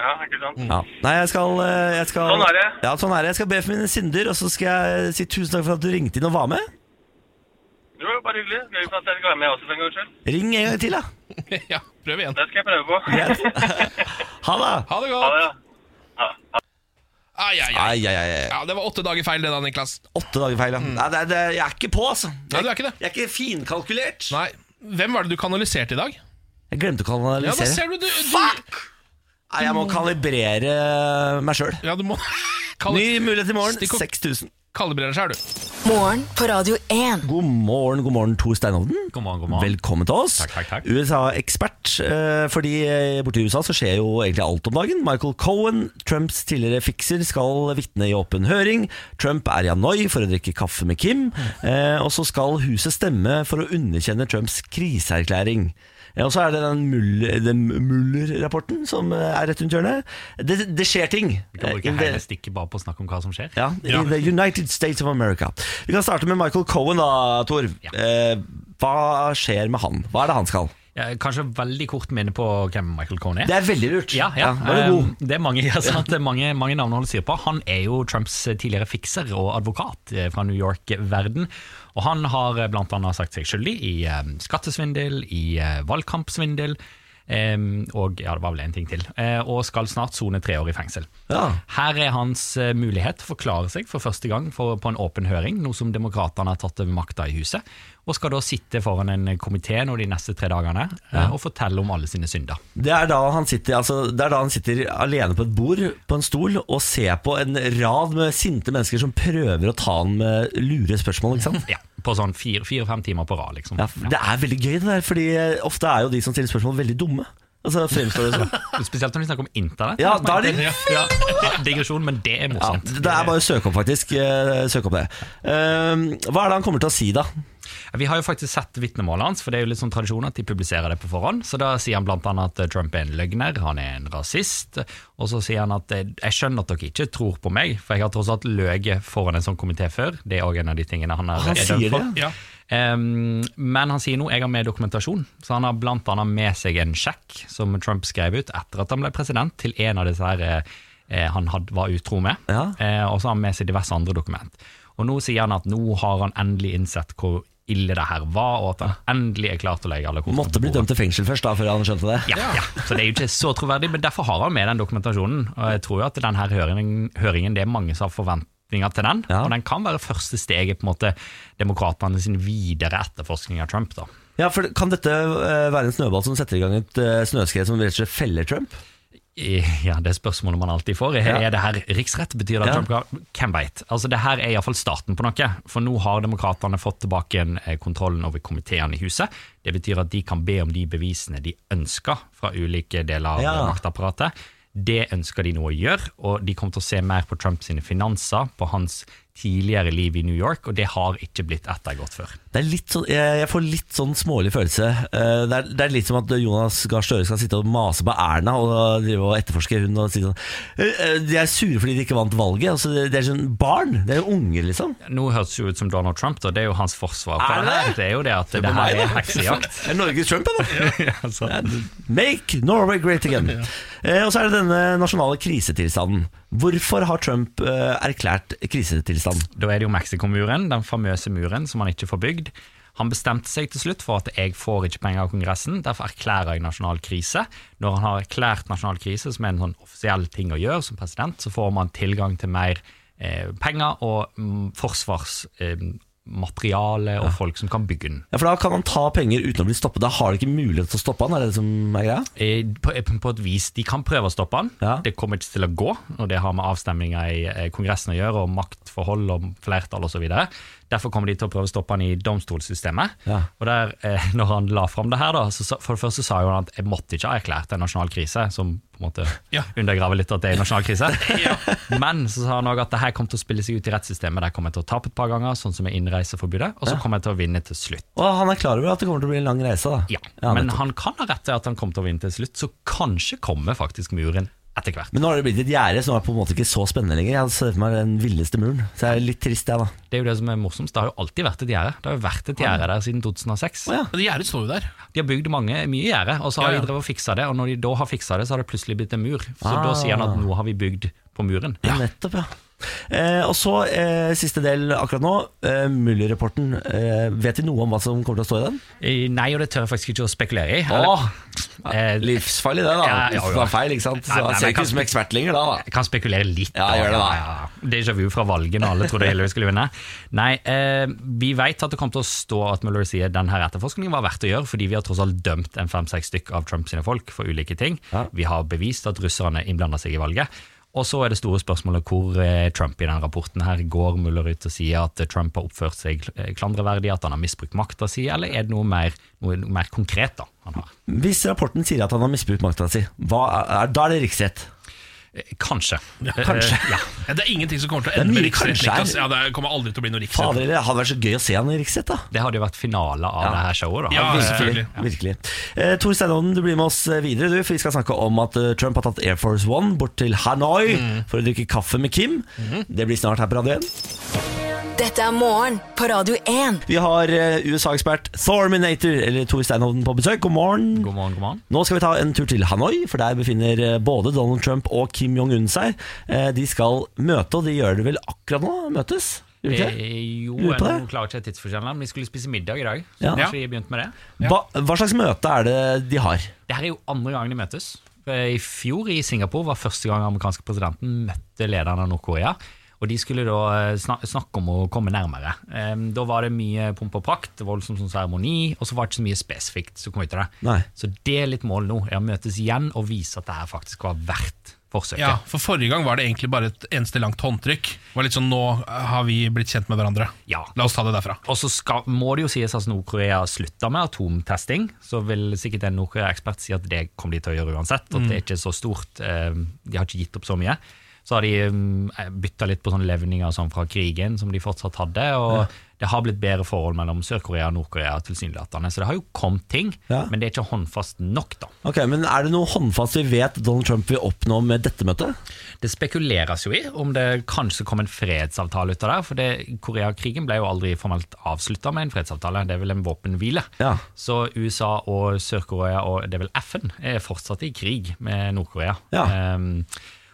S6: Ja, ikke sant?
S1: Ja. Nei, jeg skal, eh, jeg skal
S6: Sånn er det.
S1: Ja, sånn er det. Jeg skal be for mine synder, og så skal jeg si tusen takk for at du ringte inn og var med.
S6: Det var jo bare hyggelig. Gøy for at jeg fikk være med også for en gangs skyld.
S1: Ring en gang til, da.
S2: ja, prøv igjen.
S6: Det skal jeg prøve på.
S1: [LAUGHS] Ha det.
S2: Ha det
S6: Ha
S2: godt.
S6: det. Ja. Ja.
S2: Ai, ai, ai.
S1: Ai, ai, ai. ai.
S2: Ja, det var åtte dager feil, det da, Niklas.
S1: Åtte dager feil, ja. Nei, det, det, jeg er ikke på, altså.
S2: Nei, Mm. du er ikke det.
S1: Jeg er ikke finkalkulert.
S2: Nei. Hvem var det du kanaliserte i dag?
S1: Jeg glemte å
S2: Ja, da
S1: kanalisere.
S2: ser du, du, du
S1: Fuck! Nei, jeg må kalibrere meg sjøl.
S2: Ja, du må [LAUGHS]
S1: Ny
S2: Kali
S1: mulighet i morgen.
S2: Stikk opp.
S1: 6000.
S2: kalibrere seg, er du.
S3: Morgen på Radio 1.
S1: God morgen, god morgen, Tor Steinhovden.
S7: God morgen, god morgen.
S1: Velkommen til oss.
S7: Takk, takk, takk.
S1: USA-ekspert. eh, Fordi eh, borte i USA så skjer jo egentlig alt om dagen. Michael Cohen, Trumps tidligere fikser, skal vitne i åpen høring. Trump er i Hanoi for å drikke kaffe med Kim. Eh, Og så skal huset stemme for å underkjenne Trumps kriseerklæring. Ja, Og så er det den Mull- den Muller-rapporten som eh, er rett rundt hjørnet. Det, det skjer ting. Eh,
S7: Vi kan bruke
S1: In the-
S7: hele stikket bare på å snakke om hva som skjer.
S1: ja, i The United States of America. Vi kan starte med Michael Cohen da, Tor.
S7: Ja.
S1: Eh, hva skjer med han? Hva er det han skal?
S7: Jeg kanskje veldig kort minne på hvem Michael Cohen er.
S1: Det er veldig lurt.
S7: ja, ja.
S1: var du god?
S7: Eh, det er mange, [LAUGHS] ja, sant? Det er mange, mange navn å holde styr på. Han er jo Trumps tidligere fikser og advokat eh, fra New York-verden. Og han har eh, blant annet sagt seg skyldig i eh, skattesvindel, i eh, valgkampsvindel, eh, og ja, det var vel en ting til. Eh, Og skal snart sone tre år i fengsel.
S1: Ja.
S7: Her er hans eh, mulighet til å forklare seg for første gang for, på en åpen høring, nå som demokratene har tatt over makta i huset, og skal da sitte foran en komité nå de neste tre dagene eh, og fortelle om alle sine synder.
S1: Det, er da han sitter, altså, det er da han sitter alene på et bord, på en stol, og ser på en rad med sinte mennesker som prøver å ta han med lure spørsmål. ikke
S7: [LAUGHS]
S1: sant?
S7: Ja, på sånn fire- fire-fem timer på rad, liksom.
S1: Ja, det er veldig gøy, det der, fordi eh, ofte er jo de som stiller spørsmål, veldig dumme. Altså, fremstår det som.
S7: Spesielt når vi snakker om internett.
S1: Ja, da er det-
S7: ja, ja, det er digresjon, men det er
S1: Ja,
S7: morsomt.
S1: det er bare å søke opp, faktisk. Eh, Søk opp det. Eh, hva er det han kommer til å si, da?
S7: Vi har jo faktisk sett vitnemålet hans, for det er jo litt sånn tradisjon at de publiserer det på forhånd. Så da sier han blant annet at Trump er en løgner, han er en rasist. Og så sier han at eh, jeg skjønner at dere ikke tror på meg, for jeg har tross alt løyet foran en sånn komité før. Det er òg en av de tingene han er,
S1: Han
S7: er
S1: sier
S7: dømt for.
S1: det,
S2: Ja.
S7: Ehm, men han sier nå jeg har med dokumentasjon, så han har blant annet med seg en sjekk som Trump skrev ut etter at han ble president, til en av disse her eh, eh, han had, var utro med.
S1: Ja.
S7: Eh, og så har han med seg diverse andre dokument. Og nå sier han at nå har han endelig innsett hvor ille det her var, og at han endelig er klar til å legge alle kortene
S1: Måtte bli dømt til fengsel først, da, før han skjønte det.
S7: Ja, ja, så det er jo ikke så troverdig, men derfor har han med den dokumentasjonen. Og jeg tror jo at den her høringen, høringen det er mange som har forventninger til den,
S1: Ja.
S7: og den kan være første steget på en måte demokratene sin videre etterforskning av Trump da.
S1: Ja, for Kan dette eh, være en snøball som setter i gang et eh, snøskred som rett og slett feller Trump?
S7: I- Ja, det er spørsmålet man alltid får. Er,
S1: Ja.
S7: er det her riksrett? Betyr det at
S1: Ja.
S7: Trump kan Hvem veit? Altså, det her er iallfall starten på noe. For nå har demokratene fått tilbake igjen eh, kontrollen over komiteene i huset. Det betyr at de kan be om de bevisene de ønsker fra ulike deler av
S1: Ja.
S7: maktapparatet. Det ønsker de nå å gjøre, og de kommer til å se mer på Trumps sine finanser, på hans tidligere liv i New York, og det har ikke blitt ettergått før.
S1: Det er litt sånn, jeg, jeg får litt sånn smålig følelse. Eh, det, er, det er litt som at Jonas Gahr Støre skal sitte og mase på Erna og drive og etterforske hun og si sånn eh, eh, De er sure fordi de ikke vant valget. Altså, det, det er sånn barn. Det er jo unger, liksom.
S7: Nå høres det jo ut som Donald Trump, og det er jo hans forsvar. på
S1: Er det
S7: her.
S1: det?
S7: Det er jo det at det her er heksejakt.
S1: Det er Norges Trump, da.
S7: Altså.
S1: Make Norway great again. Eh, og så er det denne nasjonale krisetilstanden. Hvorfor har Trump eh, erklært krisetilstand?
S7: Da er det jo Mexicomuren, den famøse muren som han ikke får bygd. Han bestemte seg til slutt for at jeg får ikke penger av Kongressen, derfor erklærer jeg nasjonal krise. Når han har erklært nasjonal krise, som er en sånn offisiell ting å gjøre som president, så får man tilgang til mer eh, penger og mm, forsvarsmateriale eh, materiale og folk som kan bygge den.
S1: Ja, For da kan han ta penger uten å bli stoppet. Da har de ikke mulighet til å stoppe han, er det det som er greia?
S7: Eh, På, på et vis, De kan prøve å stoppe han.
S1: Ja.
S7: Det kommer ikke til å gå, og det har med avstemninger i eh, Kongressen å gjøre, og maktforhold og flertall osv. Derfor kommer de til å prøve å stoppe han i domstolssystemet.
S1: Ja.
S7: Og der, eh, [LAUGHS] når han la fram det her, da, så, sa- for det første sa jo han at jeg måtte ikke ha erklært en nasjonal krise, som på en måte
S2: Ja.
S7: undergraver litt at det er en nasjonal krise. Men så sa han òg at det her kommer til å spille seg ut i rettssystemet. Der kommer jeg til å tape et par ganger, sånn som med innreiseforbudet, og så kommer jeg til å vinne til slutt.
S1: Og han er klar over at det kommer til å bli en lang reise, da.
S7: Ja,
S1: men,
S7: men han kan ha rett til at han kommer til å vinne til slutt, så kanskje kommer faktisk muren etter hvert.
S1: men nå har det blitt et gjerde som er på en måte ikke så spennende lenger. Jeg hadde sett for meg den villeste muren. Så jeg er litt trist, jeg, da.
S7: Det er jo det som er morsomst, det har jo alltid vært et gjerde. Det har jo vært et gjerde der siden 2006.
S1: Å ja.
S2: Men Gjerdet står jo der.
S7: De har bygd mange, mye gjerde, og så har
S2: Ja, ja.
S7: de drevet og fiksa det, og når de da har fiksa det, så har det plutselig blitt en mur. Så
S1: Ah.
S7: da sier han at nå har vi bygd på muren.
S1: Nettopp, ja. Eh, og så eh, siste del akkurat nå. Eh, Muller-rapporten. Eh, vet vi noe om hva som kommer til å stå i den?
S7: Eh, Nei, og det tør jeg faktisk ikke å spekulere i.
S1: Åh,
S7: Eh,
S1: livsfarlig det, da.
S7: Ja, ja, ja.
S1: Uff, det var feil, ikke sant? Så
S7: Nei, nei,
S1: han
S7: men
S1: ser
S7: jeg
S1: ikke
S7: kan-
S1: ut som ekspert lenger da. da.
S7: Jeg kan spekulere litt.
S1: Ja, gjør det da.
S7: ja. Déjà vu fra valget når alle trodde Hillary skulle vinne. Nei, eh, Vi vet at det kommer til å stå at Mueller sier denne etterforskningen var verdt å gjøre, fordi vi har tross alt dømt en fem-seks stykk av Trump sine folk for ulike ting. Vi har bevist at russerne innblanda seg i valget. Og så er det store spørsmålet hvor eh, Trump i denne rapporten her går Mueller ut og sier at eh, Trump har oppført seg eh, klandreverdig, at han har misbrukt makta si, eller er det noe mer, noe, noe mer konkret da han har?
S1: Hvis rapporten sier at han har misbrukt makta si, hva er, da er det riksrett.
S7: Eh, Kanskje.
S1: kanskje.
S7: Eh, ja.
S2: Ja, det er ingenting som kommer til å
S1: er
S2: ende med
S1: mye
S2: riksrett.
S1: kanskje her.
S2: Niklas. Ja, det kommer aldri til å bli noe riksrett.
S1: Fader, det hadde vært så gøy å se han i riksrett, da.
S7: Det hadde jo vært finale av det her showet. da.
S2: Ja,
S7: Hadde-
S1: Virkelig.
S2: selvfølgelig.
S1: virkelig. Eh, Tor Steinodden, du blir med oss eh, videre, du, for vi skal snakke om at eh, Trump har tatt Air Force One bort til Hanoi for å drikke kaffe med Kim. Det blir snart her på Radio 1.
S3: Dette er morgen på Radio 1.
S1: Vi har eh, USA-ekspert Thorminator, eller Tor Steinhovden, på besøk. God morgen.
S7: God morgen, god morgen.
S1: Nå skal vi ta en tur til Hanoi, for der befinner eh, både Donald Trump og Kim Jong-un seg. Eh, De skal møte, og de gjør det vel akkurat nå? Møtes? Gjør de ikke det?
S7: Eh, jo,
S1: Lurer på
S7: jeg
S1: det.
S7: klarer ikke tidsforskjellen, men vi skulle spise middag i dag. Så
S1: Ja.
S7: kanskje vi begynte med det.
S1: Hva, hva slags møte er det de har?
S7: Det her er jo andre gangen de møtes. Eh, I fjor i Singapore var første gang amerikanske presidenten møtte lederen av Nord-Korea. Og de skulle da eh, snak snakke om å komme nærmere. Eh, Da var det mye pomp og prakt, voldsom sånn seremoni, og så var det ikke så mye spesifikt som kom ut av det.
S1: Nei.
S7: Så det er litt målet nå, er å møtes igjen og vise at det her faktisk var verdt forsøket.
S2: Ja, for forrige gang var det egentlig bare et eneste langt håndtrykk. Det var litt sånn, nå har vi blitt kjent med hverandre.
S7: Ja.
S2: La oss ta det derfra.
S7: Og så skal, må det jo sies at Nord-Korea slutter med atomtesting, så vil sikkert en Nord-Korea-ekspert si at det kommer de til å gjøre uansett, at det er ikke så stort, eh, de har ikke gitt opp så mye. Så har de bytta litt på sånne levninger og sånn fra krigen som de fortsatt hadde, og det har blitt bedre forhold mellom Sør-Korea og Nord-Korea tilsynelatende, så det har jo kommet ting,
S1: Ja.
S7: men det er ikke håndfast nok, da.
S1: Ok, men Er det noe håndfast vi vet Donald Trump vil oppnå med dette møtet?
S7: Det spekuleres jo i om det kanskje kom en fredsavtale ut av det. For det, Koreakrigen ble jo aldri formelt avslutta med en fredsavtale. Det er vel en våpenhvile.
S1: Ja.
S7: Så USA og Sør-Korea og det er vel FN er fortsatt i krig med Nord-Korea.
S1: Ja.
S7: Ehm,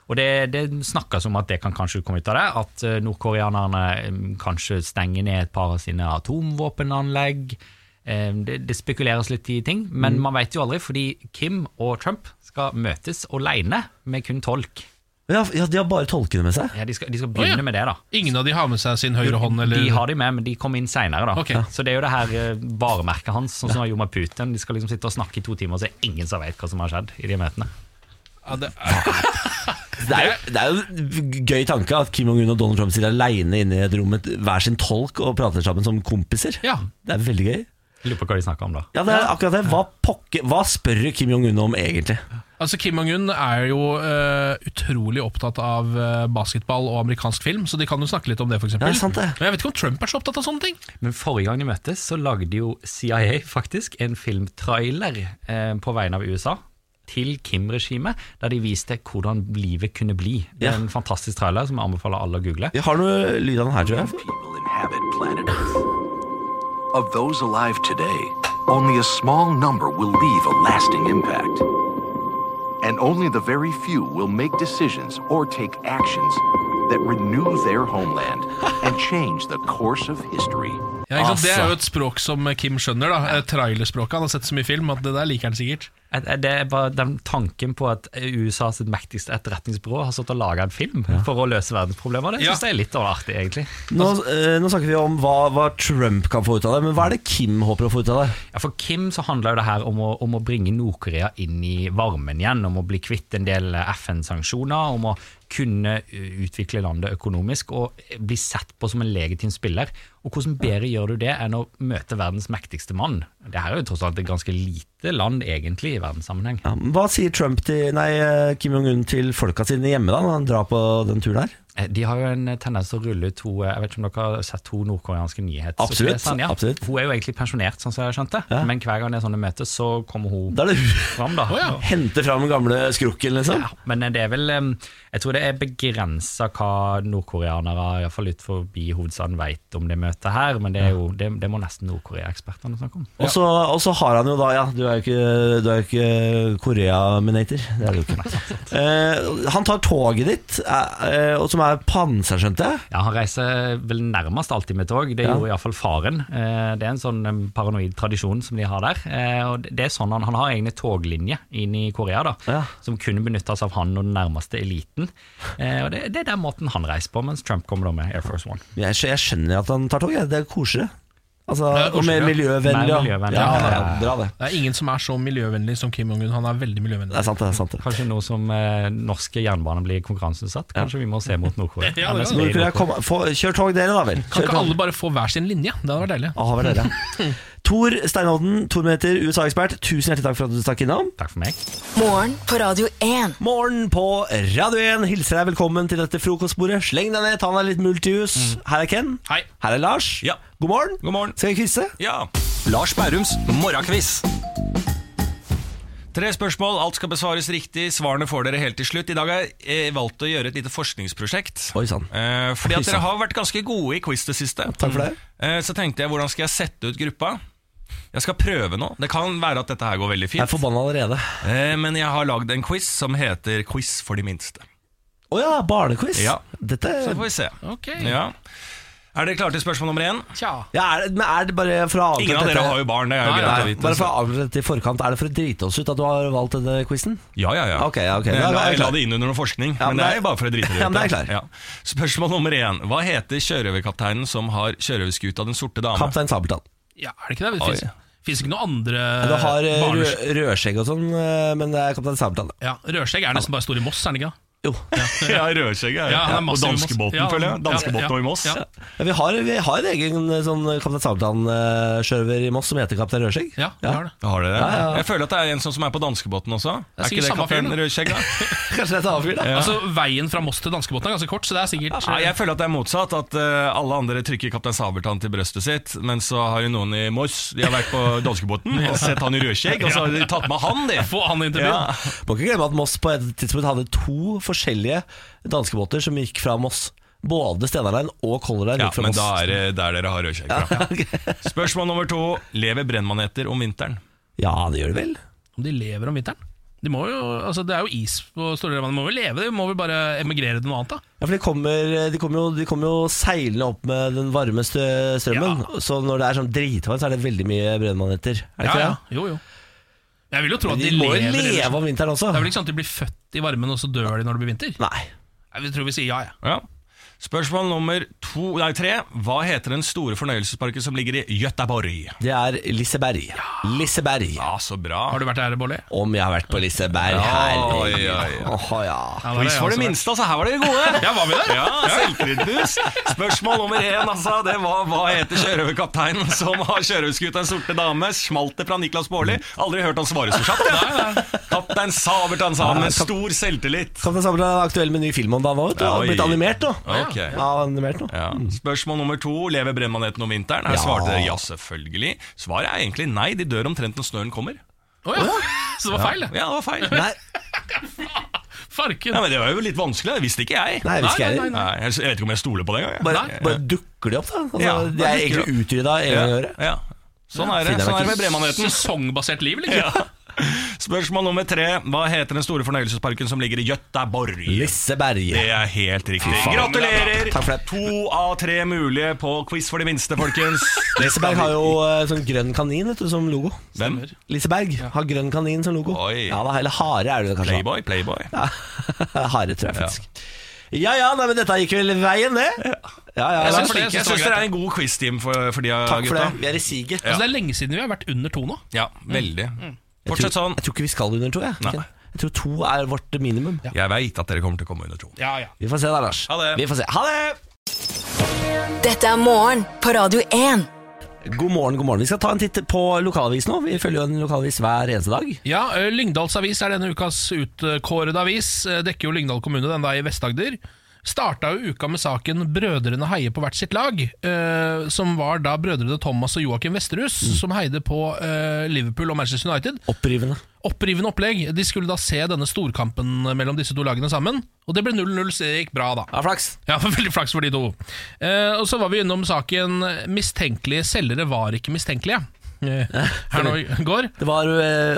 S7: og det, det snakkes om at det kan kanskje komme ut av det. At eh, nordkoreanerne em, kanskje stenger ned et par av sine atomvåpenanlegg. Ehm, Det, det spekuleres litt i ting,
S1: Mm.
S7: men man vet jo aldri, fordi Kim og Trump skal møtes alene med kun tolk.
S1: Ja, ja De har bare tolkene med seg.
S7: Ja, de skal, de skal
S2: Å,
S7: begynne
S2: ja.
S7: med det, da.
S2: Ingen av de har med seg sin høyre hånd, eller?
S7: De har de med, men de kom inn seinere, da.
S2: Ok.
S7: Så det er jo det her eh, varemerket hans, sånn som han gjorde med Putin. De skal liksom sitte og snakke i to timer, så er det ingen som vet hva som har skjedd i de møtene.
S2: Ja, det er,
S1: Det er, jo, det er jo en gøy tanke at Kim Jong-un og Donald Trump sitter alene inne i et rom med hver sin tolk og prater sammen som kompiser.
S2: ja.
S1: Det er veldig gøy.
S7: Jeg Lurer på hva de snakker om da.
S1: Ja, det er akkurat det. Hva, pokke, hva spør Kim Jong-un om egentlig?
S2: Altså, Kim Jong-un er jo eh, utrolig opptatt av eh, basketball og amerikansk film, så de kan jo snakke litt om det, for eksempel.
S1: Ja, sant det.
S2: Men jeg vet ikke om Trump er så opptatt av sånne ting.
S7: Men forrige gang de møttes, så lagde jo CIA faktisk en filmtrailer eh, på vegne av USA til Kim-regimet, der de viste hvordan livet kunne bli. Det er
S1: Ja.
S7: en fantastisk trailer som jeg anbefaler alle å google.
S1: Vi har noe lyd av den her, tror jeg.
S8: people inhabit planet Earth. Of those alive today, only a small number will leave a lasting impact. And only the very few will make decisions or take actions that renew their homeland and change the course of history.
S9: Ja, ikke sant? Det er
S1: Altså.
S9: jo et språk som Kim skjønner. da Eh, Trailerspråket. Han har sett så mye film at det der liker han sikkert.
S7: Et- et- Det er bare den tanken på at USA sitt mektigste etterretningsbyrå har stått og laga en film for å løse verdensproblemer. Det
S9: Ja.
S7: synes jeg er litt overartig, egentlig.
S1: Nå, eh, nå snakker vi om hva, hva Trump kan få ut av det, men hva er det Kim håper å få ut av det?
S7: Ja, For Kim så handler jo det her om å, om å bringe Nord-Korea inn i varmen igjen. Om å bli kvitt en del FN-sanksjoner, om å kunne eh, utvikle landet økonomisk og eh, bli sett på som en legitim spiller. Og hvordan bedre gjør du det enn å møte verdens mektigste mann? Det her er jo tross alt et ganske lite land, egentlig, i verdenssammenheng.
S1: Ja, men hva sier Trump til, nei, eh, Kim Jong-un til folka sine hjemme da, når han drar på den turen her?
S7: Eh, De har jo en eh, tendens til å rulle ut to eh, Jeg vet ikke om dere har sett to nordkoreanske nyhetsoppleser?
S1: Absolutt, absolutt.
S7: Hun er jo egentlig pensjonert, sånn som jeg har skjønt det. Men hver gang det er sånne møter, så kommer hun
S1: Da er det
S7: fram, da.
S1: hente fram den gamle skrukken, liksom.
S7: Ja, men eh, det er vel em, Jeg tror det er begrensa hva nordkoreanere, iallfall ut forbi hovedstaden, veit om det møtet her. Men det, er jo, det, det må nesten Nord-Korea-ekspertene snakke om.
S1: Og så, og så har han jo da, ja, du er jo ikke, du er jo ikke Korea-minator, det er du jo ikke. Eh, han tar toget ditt, eh, eh, og som er panser, skjønte jeg.
S7: Ja, Han reiser vel nærmest alltid med tog, det gjorde iallfall faren. Eh, Det er en sånn em, paranoid tradisjon som de har der. Eh, Og det- det er sånn Han, han har egne toglinjer inn i Korea da,
S1: Ja.
S7: som kunne benyttes av han og den nærmeste eliten. Eh, Og det, det er den måten han reiser på, mens Trump kommer da med Air Force One.
S1: Men Jeg, skj- jeg skjønner at han tar tog, jeg. det er koseligere. Altså,
S9: Ja, det er
S1: og mer
S9: koseligere.
S1: miljøvennlig.
S7: Mer
S1: ja.
S7: miljøvennlig,
S1: Ja,
S7: ja.
S1: ja, ja, bra det.
S9: Det er ingen som er så miljøvennlig som Kim Jong-un. Han er veldig
S1: Det
S9: miljøvennlig.
S1: er sant, det er sant. det.
S7: Kanskje nå som eh, norske jernbaner blir konkurranseutsatt, kanskje vi må se mot Nord-Korea.
S9: Ja, det er sant.
S1: Nord-Korea, kom, få, kjør tog dere da vel.
S9: Kan
S1: Kjør
S9: ikke
S1: tog.
S9: alle bare få hver sin linje? Det hadde vært deilig.
S1: Ah,
S9: [LAUGHS]
S1: vel, dere. Tor Steinodden, Tor-meter, USA-ekspert, tusen hjertelig takk for at du stakk innom.
S7: Takk for meg.
S3: Morgen på Radio 1.
S1: Morgen på Radio 1 hilser deg velkommen til dette frokostbordet. Sleng deg ned, ta deg litt multijus. Her er Ken.
S9: Hei.
S1: Her er Lars.
S10: Mm. Ja.
S1: God morgen.
S10: God morgen.
S1: Skal vi quize?
S10: Ja. Lars Bærums morgenkviss. Tre spørsmål, alt skal besvares riktig. Svarene får dere helt til slutt. I dag har jeg eh, valgt å gjøre et lite forskningsprosjekt.
S1: Oi sann.
S10: Eh, fordi
S1: Oi,
S10: at
S1: sann.
S10: dere har vært ganske gode i quiz det siste.
S1: Takk for det.
S10: Eh, så tenkte jeg, hvordan skal jeg sette ut gruppa? Jeg skal prøve nå. Det kan være at dette her går veldig
S1: Jeg er
S10: fint.
S1: forbanna allerede.
S10: Eh, men jeg har lagd en quiz som heter Quiz for de minste.
S1: Å ja, barnequiz.
S10: Ja.
S1: Dette
S10: Så får vi se.
S9: Ok,
S10: Ja. Er dere klare til spørsmål nummer én?
S9: tja
S1: ja, er, det, men er det bare for å
S10: Ingen av
S1: avslutte
S10: dere har jo barn. det er jo
S9: Nei,
S10: greit
S1: Nei,
S10: å vite.
S1: bare for å avslutte dette i forkant, er det for å drite oss ut at du har valgt denne quizen?
S10: Ja, ja, ja.
S1: Ok, ja, ok.
S10: Men
S1: Da
S10: jeg la,
S1: er jeg
S10: jeg la
S1: klar.
S10: det inn under noe forskning.
S1: Ja, men
S10: men det
S1: da-
S10: er jo bare for å drite det ut.
S1: Ja, men da er jeg klar.
S10: Ja. Spørsmål nummer én. Hva heter sjørøverkapteinen som har sjørøverskuta Den sorte dame?
S1: Kaptein Sabeltann.
S9: Ja, er det ikke det? Det
S10: Oi.
S9: fins ikke noen andre
S1: Du har eh,
S9: barnes...
S1: rø- rødskjegg og sånn, eh, men det er Kaptein Sabeltann.
S9: Ja, Rødskjegg er nesten bare stor i Moss, er den ikke? det?
S1: Jo.
S10: [LAUGHS] ja, Rødskjegget.
S9: Ja, han er
S10: og
S9: massiv i Moss.
S10: danskebåten,
S9: Ja,
S10: føler jeg.
S9: han-
S10: Danskebåten
S9: ja,
S10: og i Moss.
S9: ja.
S1: Ja, vi, har, vi har en egen eh, sånn Kaptein Sabeltann-sjørøver i Moss som heter Kaptein Rødskjegg.
S9: Ja, vi har det.
S10: Har dere det?
S1: Ja, ja.
S10: Jeg føler at det er en sånn som er på danskebåten også. Er ikke
S9: sikkert
S10: det
S9: samme
S10: kaptein
S9: fyren, da.
S10: Rødskjegg, da?
S1: [LAUGHS] Kanskje det er et annet fyr, da.
S9: Altså, Veien fra Moss til danskebåten er ganske kort, så det er sikkert
S10: Nei, jeg føler at det er motsatt. At eh, alle andre trykker Kaptein Sabeltann til brøstet sitt, men så har jo noen i Moss De har vært på danskebåten og sett han i rødskjegg, og så har de tatt med han, de.
S9: eh, Få han inn til byen.
S10: Ja.
S1: Må ikke glemme at Moss på et tidspunkt hadde to forskjellige danskebåter som gikk fra Moss. Både Steinar Line og Color Line
S10: Ja,
S1: gikk fra
S10: men
S1: Moss.
S10: da er det der dere har rødskjegg fra. [LAUGHS] Spørsmål nummer to. Lever brennmaneter om vinteren?
S1: Ja, det gjør det vel.
S9: Om de lever om vinteren? De må jo, altså Det er jo is på store deler av landet, de må vel leve? De må vel bare emigrere til noe annet, da?
S1: Ja, for de kommer, eh, de, kommer jo, de kommer jo seilende opp med den varme stø strømmen. Så når det er sånn dritvarmt, så er det veldig mye brennmaneter. Er det ikke det?
S9: Jo, jo. Jeg vil jo tro at
S1: Men
S9: de,
S1: de må jo
S9: lever
S1: leve
S9: ellers.
S1: om vinteren også.
S9: Det er vel ikke sånn at de blir født i varmen, og så dør de når det blir vinter?
S1: Nei.
S9: Jeg tror vi sier ja, ja.
S10: Ja. Spørsmål nummer to, nei, tre. Hva heter den store fornøyelsesparken som ligger i Göteborg?
S1: Det er Liseberg. Liseberg.
S10: Ja, så bra.
S9: Har du vært der, Bolle?
S1: Om jeg har vært på Liseberg.
S10: Oi,
S1: Herregud.
S10: oi, oi.
S1: Åh, ja.
S9: Ja, der har
S10: Quiz
S9: jeg også
S10: for det
S9: vært.
S10: minste, altså. Her var dere gode.
S9: Ja, var vi der?
S10: Ja, selvkritisk. Spørsmål nummer én, altså. Det var hva heter sjørøverkapteinen som har sjørøverskuta En sorte dame? Smalt det fra Niklas Baarli? Aldri hørt han svare så kjapt. Ja. Kaptein Sabeltann sa han med stor selvtillit.
S1: Kaptein Sabeltann er aktuell med ny film om dagen òg. Har
S10: Oi.
S1: blitt animert nå.
S10: Ok.
S1: Ja, animert nå.
S10: Ja. Spørsmål nummer to. Lever brennmaneten om vinteren? Her svarte dere ja, selvfølgelig. Svaret er egentlig nei. De dør omtrent når snøen kommer.
S9: Å
S2: [LAUGHS]
S9: ja. Så det var feil, det.
S10: Ja, det var feil.
S1: Nei,
S10: Ja,
S9: Farken.
S10: men Det var jo litt vanskelig. Det visste ikke jeg.
S1: nei, jeg visste ikke jeg heller.
S10: Nei, jeg jeg vet ikke om jeg stoler på det engang. jeg.
S1: Bare,
S9: Nei.
S1: bare dukker de opp, da. Altså, de
S10: Ja, bare
S1: er
S10: dukker
S1: egentlig utrydda en gang i
S10: Ja,
S1: året.
S10: ja. Sånn er det
S1: finner meg
S10: Sånn er det med
S1: ikke.
S10: brennmaneten.
S9: Sesongbasert liv, liksom.
S10: Ja. Spørsmål nummer tre. Hva heter den store fornøyelsesparken som ligger i Gøteborg?
S1: Lisseberg.
S10: Det er helt riktig. Gratulerer!
S1: Takk for det.
S10: To av tre mulige på quiz for de minste,
S1: [LAUGHS]
S10: folkens. Det skal
S1: Liseberg har
S10: vi-
S1: jo eh, sånn grønn kanin vet du, som logo.
S10: Hvem?
S1: Liseberg har grønn kanin som logo.
S10: Oi.
S1: Ja, da, Eller hare er det kanskje.
S10: Playboy, Playboy.
S1: Ja. [LAUGHS] hare, tror jeg faktisk. Ja ja, nei, men dette gikk vel veien, det. Ja, ja,
S2: Jeg
S1: ja.
S2: syns det-
S10: Jeg
S2: jeg syns
S10: syns
S2: det var
S10: dere er en god quiz-team for, for de av
S1: Takk for det.
S10: gutta.
S1: Vi er i siget.
S2: Altså, det er lenge siden vi har vært under to nå.
S10: Ja, veldig.
S2: Mm.
S1: Jeg tror,
S10: Fortsett sånn.
S1: jeg tror ikke vi skal under to. Jeg,
S10: Nei.
S1: jeg tror to er vårt minimum.
S10: Jeg veit at dere kommer til å komme under to.
S2: Ja, ja.
S1: Vi får se da, Lars.
S10: Ha det.
S1: Vi får se. Ha det!
S3: Dette er morgen på Radio 1.
S1: God morgen, god morgen. Vi skal ta en titt på lokalavis nå. Vi følger jo en lokalavis hver eneste dag.
S2: Ja, ø, Lyngdals Avis er denne ukas utkårede avis. Ø, Dekker jo Lyngdal kommune, den da i Vest-Agder. Starta jo uka med saken 'Brødrene heier på hvert sitt lag', ø, som var da brødrene Thomas og Joakim Vesterhus
S10: Mm.
S2: som heide på ø, Liverpool og Manchester United.
S1: Opprivende.
S2: Opprivende opplegg. De skulle da se denne storkampen mellom disse to lagene sammen, og det ble 0-0, så det gikk bra, da.
S1: Ja, flaks.
S2: Ja, [LAUGHS] for veldig flaks for de to. Eh, og så var vi innom saken 'Mistenkelige selgere var ikke mistenkelige'. Eh, Her nå i går.
S1: Det var eh,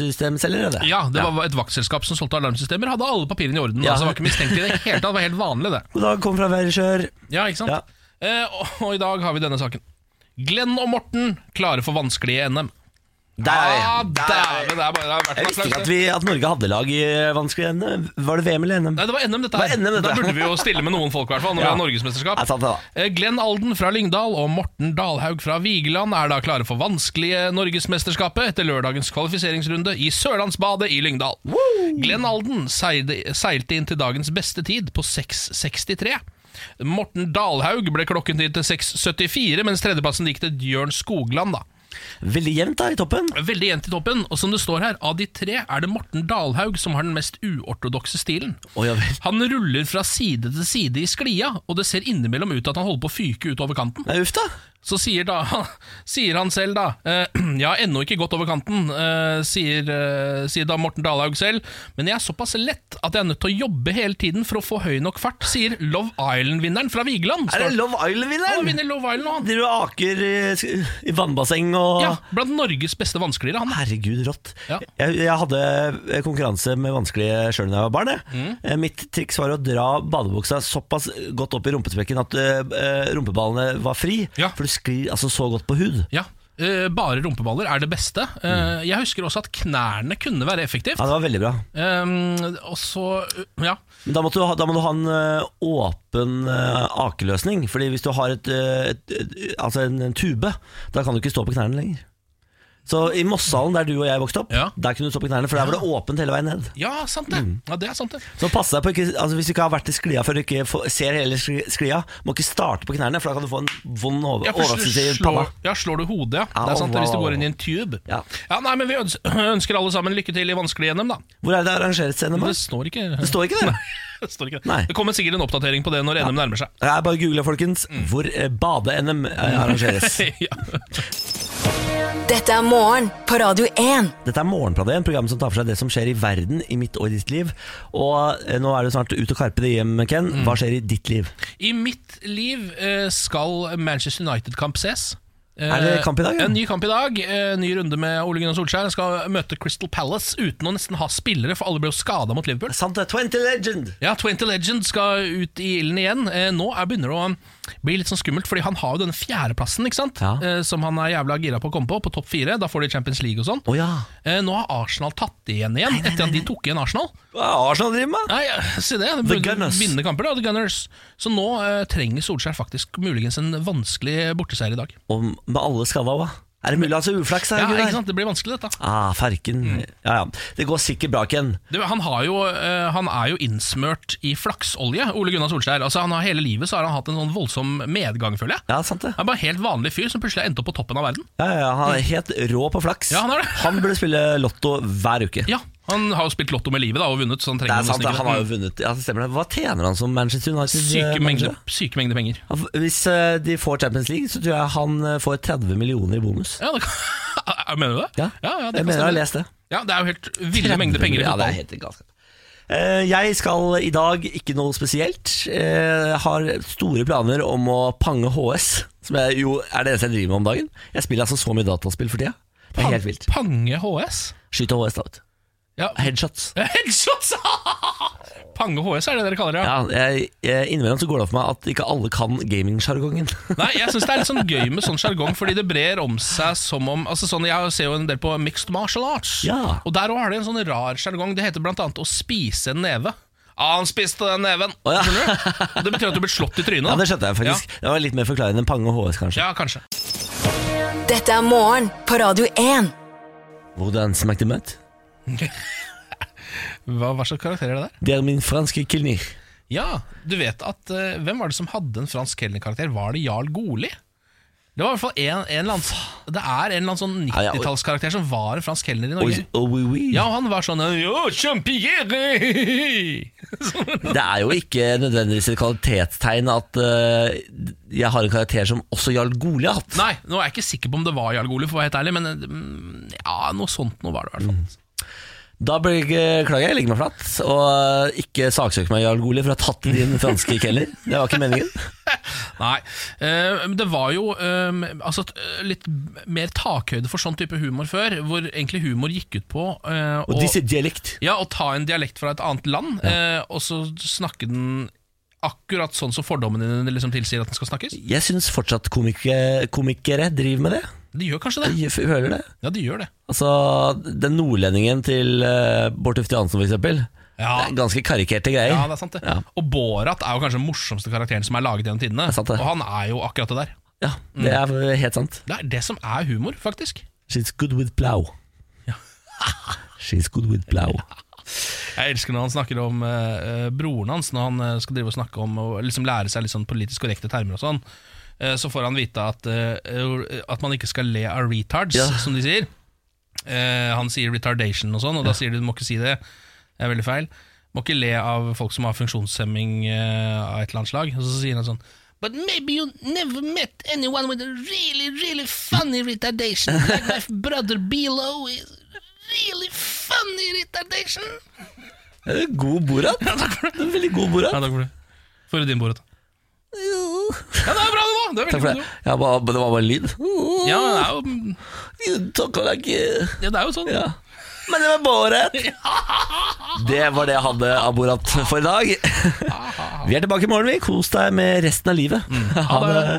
S1: alarmsystemselgere, det.
S2: Ja, det var et vaktselskap som solgte alarmsystemer. Hadde alle papirene i orden.
S1: Ja.
S2: Altså, det var ikke mistenkelig i det hele tatt. Det var helt vanlig, det.
S1: God dag, kom fra Væresjør.
S2: Ja, ikke sant?
S1: Ja.
S2: Eh, og, og i dag har vi denne saken. Glenn og Morten klare for vanskelige NM.
S1: Der!
S2: Ah,
S1: Der.
S2: dæven, det er bare- det er verdt
S1: Jeg
S2: en
S1: visste
S2: applaus,
S1: ikke
S2: det.
S1: at, vi, at Norge hadde lag i vanskelige NM. Var det VM eller NM?
S2: Nei, det var NM, dette
S1: Det
S2: her.
S1: var NM, dette
S2: Da
S1: her.
S2: burde vi jo stille med noen folk, i hvert fall, når
S1: Ja.
S2: vi har norgesmesterskap.
S1: Nei, sant det da.
S2: Eh, Glenn Alden fra Lyngdal og Morten Dalhaug fra Vigeland er da klare for vanskelige Norgesmesterskapet etter lørdagens kvalifiseringsrunde i Sørlandsbadet i Lyngdal. Glenn Alden seide, seilte inn til dagens beste tid på 6.63. Morten Dalhaug ble klokken inn til 6.74, mens tredjeplassen gikk til Bjørn Skogland. da.
S1: Veldig jevnt da, i toppen.
S2: Veldig jevnt i toppen, og som det står her, av de tre er det Morten Dalhaug som har den mest uortodokse stilen.
S1: Å, ja vel.
S2: Han ruller fra side til side i sklia, og det ser innimellom ut til at han holder på å fyke ut over kanten.
S1: Nei, uff da.
S2: Så sier, da, [LAUGHS] sier han selv da eh, [CLEARS THROAT] Jeg har ennå ikke gått over kanten, eh, sier, eh, sier da Morten Dalhaug selv, men jeg er såpass lett at jeg er nødt til å jobbe hele tiden for å få høy nok fart, sier Love Island-vinneren fra Vigeland.
S1: Er det
S2: Står-
S1: Love
S2: Han
S1: Island-vinneren?
S2: vinner Love Island, og han.
S1: Driver og aker eh, sk- i vannbasseng og
S2: Ja, blant Norges beste vanskeligere, han.
S1: Herregud, rått.
S2: Ja.
S1: Jeg, jeg hadde eh, konkurranse med vanskelige sjøl da jeg var barn. jeg.
S2: Mm.
S1: Eh, Mitt triks var å dra badebuksa såpass godt opp i rumpesprekken at eh, eh, rumpeballene var fri.
S2: Ja.
S1: For du sklir altså så godt på hud.
S2: Ja, eh, bare rumpeballer er det beste. Eh, jeg husker også at knærne kunne være effektivt.
S1: Ja, det var veldig bra.
S2: Eh, og så Ja.
S1: Men da, måtte du ha, da må du ha en eh, åpen eh, akeløsning. Fordi hvis du har et, eh, et, et, altså en, en tube, da kan du ikke stå på knærne lenger. Så i Mosshallen, der du og jeg vokste opp,
S2: Ja.
S1: der kunne du stå på knærne, for der var det åpent hele veien ned.
S2: Ja, sant det.
S1: Mm.
S2: Ja, det er sant det.
S1: Så pass deg på ikke, altså Hvis du ikke har vært i sklia før du ikke får, ser hele skli- sklia, må ikke starte på knærne, for da kan du få en vond over-
S2: Ja, først
S1: overraskelse i panna.
S2: slår, ja, slår du hodet, ja.
S1: Ja,
S2: Det er sant det, hvis du
S1: wow.
S2: går inn i en tube.
S1: Ja.
S2: Nei, men Vi øns- [CLEARS THROAT] ønsker alle sammen lykke til i vanskelig NM, da.
S1: Hvor er det arrangeres NM?
S2: Det
S1: Det
S2: står ikke Det
S1: står ikke det.
S2: står ikke [LAUGHS] det.
S1: Nei.
S2: det kommer sikkert en oppdatering på det når NM nærmer seg.
S1: Jeg bare googla, folkens,
S2: Mm.
S1: hvor eh, bade-NM
S2: [LAUGHS]
S1: arrangeres.
S2: ja.
S3: Dette er morgen på Radio 1.
S1: Dette er Morgenplanet, en program som tar for seg det som skjer i verden i mitt og ditt liv. Og eh, nå er det jo snart ut og karpe det hjem, Ken.
S2: Mm.
S1: Hva skjer i ditt liv?
S2: I mitt liv eh, skal Manchester United-kamp ses. Eh,
S1: Er det kamp i dag, ja?
S2: En ny kamp i dag. eh, Ny runde med Ole Gunnar Solskjær. Skal møte Crystal Palace uten å nesten ha spillere, for alle ble jo skada mot Liverpool.
S1: Sant det, 20 Legend!
S2: Ja, 20 Legend skal ut i ilden igjen. Eh, Nå er begynner det å bli litt sånn skummelt, Fordi han har jo denne fjerdeplassen, ikke sant?
S1: Ja.
S2: Eh, som han er jævla gira på å komme på, på topp fire. Da får de Champions League og sånn.
S1: Å ja.
S2: Eh, Nå har Arsenal tatt det igjen igjen, etter at de tok igjen Arsenal.
S1: Hva er Arsenal driver med?
S2: Nei, ja, se det. De
S1: The
S2: burde
S1: Gunners.
S2: Vinne kamper, da. The Gunners. Så nå eh, trenger Solskjær faktisk muligens en vanskelig borteseier i dag.
S1: Og med alle skada òg. Er det mulig å ha så uflaks?
S2: Ja,
S1: her, Gunnar?
S2: ikke sant? Mm. Det blir vanskelig, dette.
S1: Ah, ferken. Ja, ja. Det går sikkert bra, Ken.
S2: Du, han, har jo, eh, han er jo innsmørt i flaksolje, Ole Gunnar Solskjær. Altså, han har Hele livet så har han hatt en sånn voldsom medgang, føler jeg.
S1: Ja, sant det.
S2: Han er bare en helt vanlig fyr som plutselig har endt opp på toppen av verden.
S1: Ja, ja, han er helt rå på flaks.
S2: Ja, han er det.
S1: Han burde spille lotto hver uke.
S2: Ja, Han har jo spilt lotto med livet da, og vunnet, så han
S1: Det
S2: trenger
S1: er sant,
S2: nesten
S1: det.
S2: ikke
S1: han har jo vunnet. Ja, det stemmer det. Hva tjener han som Manchester United?
S2: Syke
S1: eh,
S2: mengder,
S1: manager?
S2: syke mengder penger.
S1: Ja, Hvis eh, de får Champions League, så tror jeg han eh, får 30 millioner i bonus.
S2: Ja, det kan, [LAUGHS] mener du det?
S1: Ja,
S2: ja, ja det
S1: jeg
S2: kan
S1: mener jeg har
S2: stemme.
S1: lest det.
S2: Ja, det er jo helt ville mengder penger.
S1: Ja,
S2: i
S1: det
S2: fotball.
S1: er helt galskap. Eh, Jeg skal i dag ikke noe spesielt. Eh, Har store planer om å pange HS, som jeg, jo er det eneste jeg driver med om dagen. Jeg spiller altså så mye dataspill for tida. Det er helt vilt.
S2: Pange HS?
S1: Skyte HS, da, vet du.
S2: Ja.
S1: Headshots.
S2: Headshots! [LAUGHS] Pange HS er det dere kaller det. Ja.
S1: Ja, jeg, jeg, innimellom så går det opp for meg at ikke alle kan gamingsjargongen.
S2: Nei, jeg syns det er litt sånn gøy med sånn sjargong, fordi det brer om seg som om altså sånn, Jeg ser jo en del på mixed martial arts,
S1: Ja.
S2: og der òg har de en sånn rar sjargong. Det heter blant annet å spise en neve. Ah, han spiste den neven!
S1: Å, ja.
S2: Skjønner du? Og Det betyr at du blir slått i trynet.
S1: Ja,
S2: da.
S1: det skjønte jeg faktisk. Det var litt mer forklarende enn Pange og HS, kanskje.
S2: Ja, kanskje.
S3: Dette er morgen på Radio 1.
S1: Hvordan smakte møtt?
S2: Hva, hva slags karakter er det der?
S1: Det er min franske kilni.
S2: Ja, du vet at eh, Hvem var det som hadde en fransk kelnerkarakter? Var det Jarl Goli? Det var i hvert fall en, en eller annen Det er en eller annen sånn
S1: Ja, ja, og-
S2: 90-tallskarakter som var en fransk kelner i
S1: Oh,
S2: Norge.
S1: oh, oui, oui.
S2: Ja, og han var sånn Yo, champigere!
S1: Det er jo ikke nødvendigvis et kvalitetstegn at eh, jeg har en karakter som også Jarl Goli har hatt.
S2: Nei, nå er jeg ikke sikker på om det var Jarl Goli, for å være helt ærlig, men mm, ja, noe sånt nå var det i hvert fall.
S1: Da beklager jeg, jeg legger meg flatt, og eh, ikke saksøk meg, Jarl Goli, for å ha tatt din franske kelner. Det var ikke meningen.
S2: Nei. eh, men det var jo eh, altså, t- eh, litt mer takhøyde for sånn type humor før, hvor egentlig humor gikk ut på eh,
S1: Og disse dialekt.
S2: Ja, å ta en dialekt fra et annet land, eh, og så snakke den akkurat sånn som fordommen din liksom tilsier at den skal snakkes.
S1: Jeg syns fortsatt komikere, komikere driver med det.
S2: De gjør kanskje det.
S1: Jeg føler det.
S2: Ja, de gjør det.
S1: Altså, den nordlendingen til eh, Bård Tufte Johansen, for eksempel.
S2: Ja.
S1: Det er ganske karikerte greier.
S2: Ja, det er sant det.
S1: Ja.
S2: Og Borat er jo kanskje den morsomste karakteren som er laget gjennom tidene.
S1: er sant det.
S2: Og han er Mm. jo akkurat det der.
S1: Ja, det er helt sant.
S2: Det er det som er humor, faktisk.
S1: She's good with plow. She's good with plow.
S2: Jeg elsker når han snakker om eh, eh, broren hans, når han eh, skal drive og snakke om og liksom lære seg litt sånn politisk korrekte termer og sånn. Eh, så får han vite at, eh, at man ikke skal le av retards,
S1: Ja.
S2: som de sier. Eh, han sier retardation og sånn, og da sier de du må ikke si det. Det er veldig feil. Må ikke le av folk som har funksjonshemming eh, av et eller annet slag. Og så sier han sånn But maybe you never met anyone with a really, really funny retardation. Like my brother Bilo is really funny retardation.
S1: God Borat. Veldig god
S2: Ja,
S1: Borat.
S2: takk for det. For din bordet. Ja, det er bra, det nå! Det er
S1: Takk
S2: veldig
S1: for
S2: bra.
S1: det.
S2: det.
S1: Ja, bare, det var bare lyd.
S2: nå. Ja, det er jo,
S1: Takk og takk.
S2: ja, det er jo sånn.
S1: Ja. Men det var Borat. Det var det jeg hadde av Borat for i dag. Vi er tilbake i morgen, vi. Kos deg med resten av
S2: Mm.
S1: livet. Ha det.